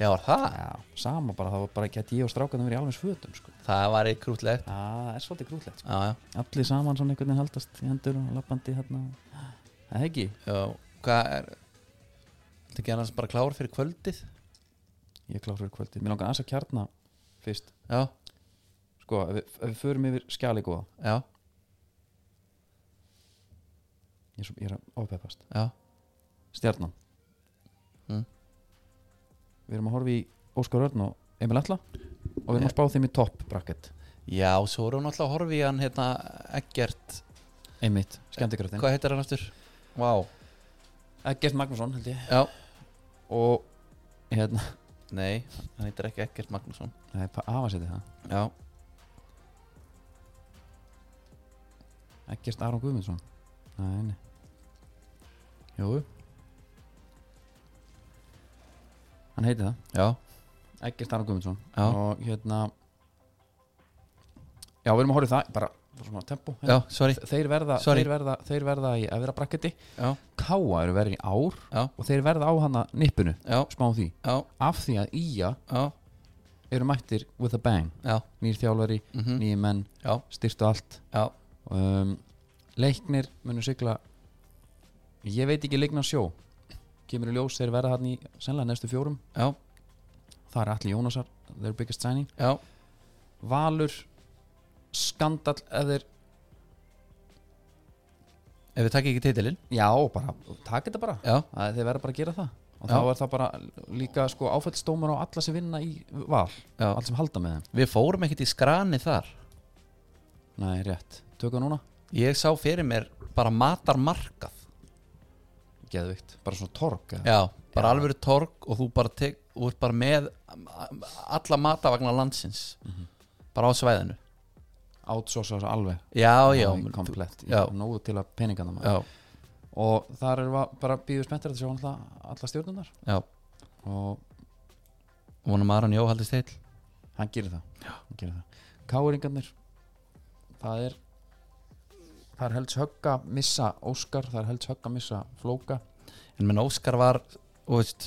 Speaker 2: já, var það
Speaker 1: Já, sama bara, það var bara ekki að ég og strákanum verið í alveg fötum sko.
Speaker 2: það var eitt krútlegt
Speaker 1: Já, Það er svolítið grútlegt sko.
Speaker 2: já, já
Speaker 1: Allir saman svona einhvern veginn haldast í hendur og lappandi hérna Það er ekki,
Speaker 2: Já, hvað er Þetta ekki annars bara klár fyrir kvöldið
Speaker 1: ég er klár fyrir kvöldið Mér langar aðeins að kjarna fyrst
Speaker 2: Já,
Speaker 1: Sko, ef við, ef við förum yfir skjali góða
Speaker 2: já,
Speaker 1: Ég er, svo, ég er að ofpeppast
Speaker 2: já
Speaker 1: Stjarnan
Speaker 2: Mm.
Speaker 1: Við erum að horfa í Óskar Örn og Emil Atla og við erum að spá þeim í topp bracket
Speaker 2: Já, svo er hún alltaf að horfa í hann hérna Eggert,
Speaker 1: Einmitt, skemmtikröftin
Speaker 2: hvað heitir hann aftur? Vá
Speaker 1: Gert Magnússon held ég
Speaker 2: Já,
Speaker 1: og hérna
Speaker 2: nei, hann heitir ekki Eggert Magnússon
Speaker 1: Nei, hvað afa séti það
Speaker 2: Já
Speaker 1: Ekkert Aron Guðmundsson Nei, nei Jú Hann heiti það
Speaker 2: já,
Speaker 1: Ekkert Aron Guðmundsson
Speaker 2: Já.
Speaker 1: Og hérna Já, við erum að horfa í það Bara bara svona tempo
Speaker 2: já, sorry
Speaker 1: Þeir verða,
Speaker 2: Sorry.
Speaker 1: þeir verða, þeir verða í efra brakketi
Speaker 2: Já.
Speaker 1: Káa eru verið í ár
Speaker 2: Já.
Speaker 1: Og þeir verða á hana nippinu
Speaker 2: já,
Speaker 1: Smá því
Speaker 2: já,
Speaker 1: Af því að Ía
Speaker 2: já,
Speaker 1: eru mættir with a bang
Speaker 2: já,
Speaker 1: Nýr þjálfari,
Speaker 2: mm
Speaker 1: nýjir menn
Speaker 2: já,
Speaker 1: Styrtu allt
Speaker 2: já,
Speaker 1: um, Leiknir munur sigla Ég veit ekki leikna sjó Kemur í ljós þeir verða hann í Sennilega næstu fjórum
Speaker 2: já,
Speaker 1: Það er allir Jónasar, their biggest signing
Speaker 2: já,
Speaker 1: Valur Skandall eða þeir
Speaker 2: ef við takkum ekki titilinn
Speaker 1: Já, bara, taka þetta bara
Speaker 2: já,
Speaker 1: að Þeir verða bara að gera það Og
Speaker 2: Já.
Speaker 1: þá er það bara líka sko áfællstómar á alla sem vinna í val
Speaker 2: já,
Speaker 1: Allt sem halda með þeim
Speaker 2: við fórum ekkert í skrani þar
Speaker 1: Nei, rétt, tökum núna
Speaker 2: ég sá fyrir mér bara matarmarkað
Speaker 1: Geðvikt, bara svona torg eða?
Speaker 2: já, bara alvöru torg og þú bara tek, þú ert bara með um, alla matavagnar landsins bara á svæðinu
Speaker 1: Outsourca þessu alveg
Speaker 2: já, já,
Speaker 1: Alveg komplett,
Speaker 2: já.
Speaker 1: nógu til að peningana maður
Speaker 2: já,
Speaker 1: og þar erum við bara býðum spenntir að sjá alltaf alla stjórnunar
Speaker 2: já
Speaker 1: og
Speaker 2: vonum að Aron Jó haldist heil
Speaker 1: hann gerir það, hann gerir það. Káringarnir það er það er helds högg að missa Óskar það er helds högg að missa Flóka
Speaker 2: en menn Óskar var, þú veist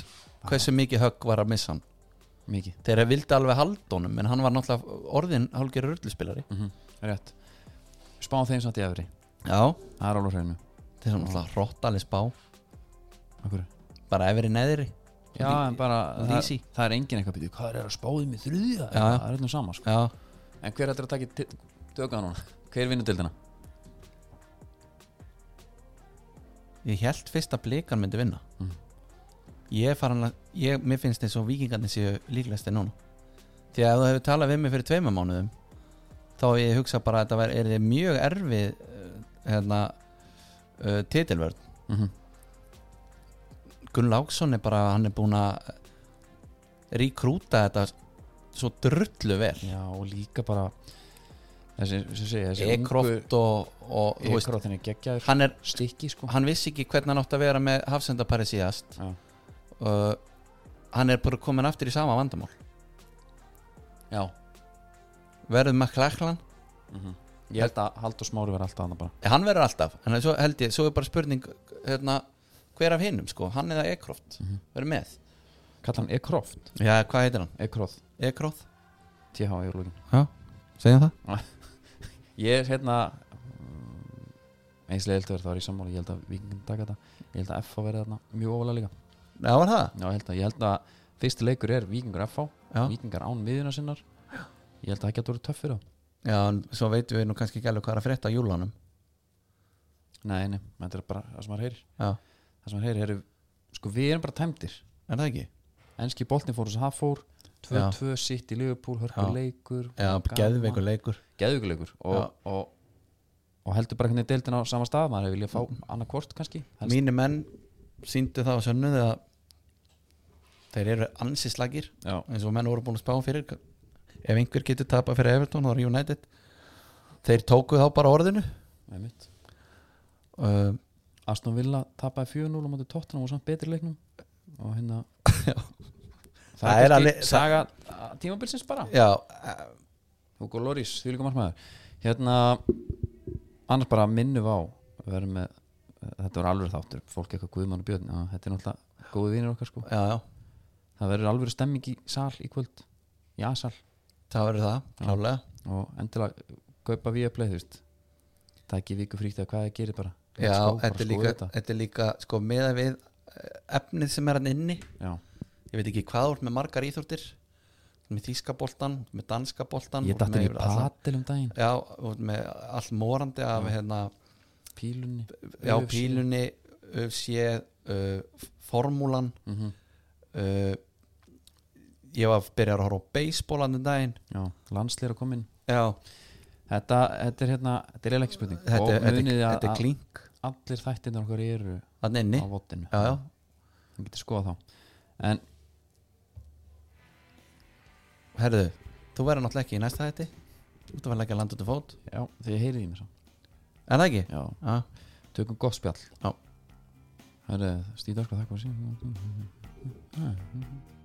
Speaker 2: hversu mikið högg var að missa hann
Speaker 1: mikið,
Speaker 2: þegar vildi alveg halda honum en hann var náttúrulega orðin hálfgerður rulluspilari
Speaker 1: rétt spáum þeim samt í efri,
Speaker 2: já,
Speaker 1: það er alveg hreinu
Speaker 2: þeir eru náttúrulega hróttalega spá
Speaker 1: Akkur.
Speaker 2: bara efri neðri
Speaker 1: já en bara, það er,
Speaker 2: Lýsi.
Speaker 1: það er engin eitthvað býtið hvað er að spáðið mér þrjúða,
Speaker 2: Já, já.
Speaker 1: það er öllum sama sko.
Speaker 2: já,
Speaker 1: en hver ætlar að taka dögana núna, hver vinnur dildina
Speaker 2: ég held fyrst að blikan myndi vinna
Speaker 1: Mhm.
Speaker 2: ég er farin að ég, mér finnst eins og vikingarnir séu líklegasti núna því að ef þú hefur talað við mig fyrir tveimur mánuðum þá hef ég hugsa bara að þetta væri- er mjög erfið uh, hérna uh, titilvörð
Speaker 1: mm
Speaker 2: Gunn Láksson er bara, hann er búin að rekrúta þetta svo drullu vel
Speaker 1: já og líka bara þessi, sem segja, þessi ungu-
Speaker 2: Ekroft og, og þú veist,
Speaker 1: Ekrotin er geggjaður
Speaker 2: hann, er,
Speaker 1: Stikki sko
Speaker 2: hann vissi ekki hvernig hann átti að vera með hafsendapari síðast
Speaker 1: Já.
Speaker 2: uh, hann er bara komin aftur í sama vandamál
Speaker 1: Já
Speaker 2: verður með klæklan,
Speaker 1: Ég held að Haldur Smári var alltaf annað bara
Speaker 2: hann verður alltaf en svo held ég, svo er bara spurning hérna, hver af hinnum sko, hann eða Ekroft verður með,
Speaker 1: Kalla hann Ekroft
Speaker 2: já hvað heitir hann
Speaker 1: Ekroth E
Speaker 2: Ekroft,
Speaker 1: TH í úrlókin
Speaker 2: já, segja það
Speaker 1: Ég er hérna mm, Einslega held að vera það var í sammáli Ég held að Víkingin taka þetta Ég held að FH verði þarna mjög ofalega líka
Speaker 2: já var það,
Speaker 1: Já ég held að Ég held að fyrsti leikur er Víkingur FH
Speaker 2: já
Speaker 1: Víkingar án miðjuna sinnar Ég held að það getur verið töff fyrir það
Speaker 2: Já, en svo veitum við nú kannski ekki alveg hvað er að frétta á júlanum
Speaker 1: Nei, nei, þetta er bara það sem maður heyrir
Speaker 2: Já,
Speaker 1: Það sem maður heyrir er Sko við erum bara tæmdir
Speaker 2: er það ekki?
Speaker 1: Enski boltin fór þess að það fór 2-2 sitt í Liverpool, hörkur
Speaker 2: Já.
Speaker 1: leikur
Speaker 2: Já,
Speaker 1: gaman.
Speaker 2: geðveikur leikur
Speaker 1: geðugulegur
Speaker 2: Já.
Speaker 1: og, og, og heldur bara hvernig deildin á sama stað maður hefur viljað fá annað hvort kannski helst.
Speaker 2: Mínu menn síndu það á sönnu þegar þeir eru ansislagir
Speaker 1: já,
Speaker 2: eins og menn voru búin að spá fyrir ef einhver getur tapað fyrir Everton þá er United Þeir tóku þá bara orðinu
Speaker 1: einmitt Mm.
Speaker 2: uh,
Speaker 1: Aston Villa tapaði 4-0 á móti tóttunum og samt betri leiknum og hérna
Speaker 2: Það
Speaker 1: það
Speaker 2: er
Speaker 1: er
Speaker 2: alveg-
Speaker 1: kannski saga a- tímabilsins bara
Speaker 2: Já, eh,
Speaker 1: Hugo Loris, því líka margmæður hérna, annars bara minnum á við erum með eh, þetta var alveg þáttur, fólk eitthvað guðmann og björn já, þetta er náttúrulega góði vinir okkar sko
Speaker 2: já, já,
Speaker 1: það verður alveg stemming í sal í kvöld í A-sal
Speaker 2: það verður það, klálega
Speaker 1: og endilega kaupa via play þú veist það er ekki viku fríkt að hvað það gerir bara
Speaker 2: Já,
Speaker 1: Let's go, bara
Speaker 2: þetta er
Speaker 1: skoða
Speaker 2: líka,
Speaker 1: þetta.
Speaker 2: þetta er líka sko, meða við eh, efnið sem er hann inni
Speaker 1: Já.
Speaker 2: ég veit ekki hvað þú ert með margar íþórtir með þýskaboltan, með danskaboltan
Speaker 1: ég dætti í patil um daginn
Speaker 2: já, þú ert með allt morandi af hérna,
Speaker 1: pílunni
Speaker 2: já,
Speaker 1: UFC.
Speaker 2: pílunni UFC, uh, formúlan
Speaker 1: Mhm.
Speaker 2: uh, ég var að byrja að horfa á beisbólandi daginn
Speaker 1: já, landslýra komin
Speaker 2: já,
Speaker 1: þetta, þetta er hérna, þetta er eiginlega ekki spurning
Speaker 2: þetta,
Speaker 1: og
Speaker 2: þetta,
Speaker 1: muniði að,
Speaker 2: þetta er klink
Speaker 1: að allir þættirnar okkar eru
Speaker 2: þannig inni,
Speaker 1: á vottinu
Speaker 2: já, já,
Speaker 1: það getur skoða þá en
Speaker 2: herðu þú verður náttúrulega ekki í næsta þætti þú verður ekki að landa út af fót
Speaker 1: já, því ég heyrið í mér svo
Speaker 2: En það ekki?
Speaker 1: Já,
Speaker 2: Já,
Speaker 1: tökum gott spjall
Speaker 2: Já.
Speaker 1: Herre, Stíð Dörskva, þakka fyrir síðan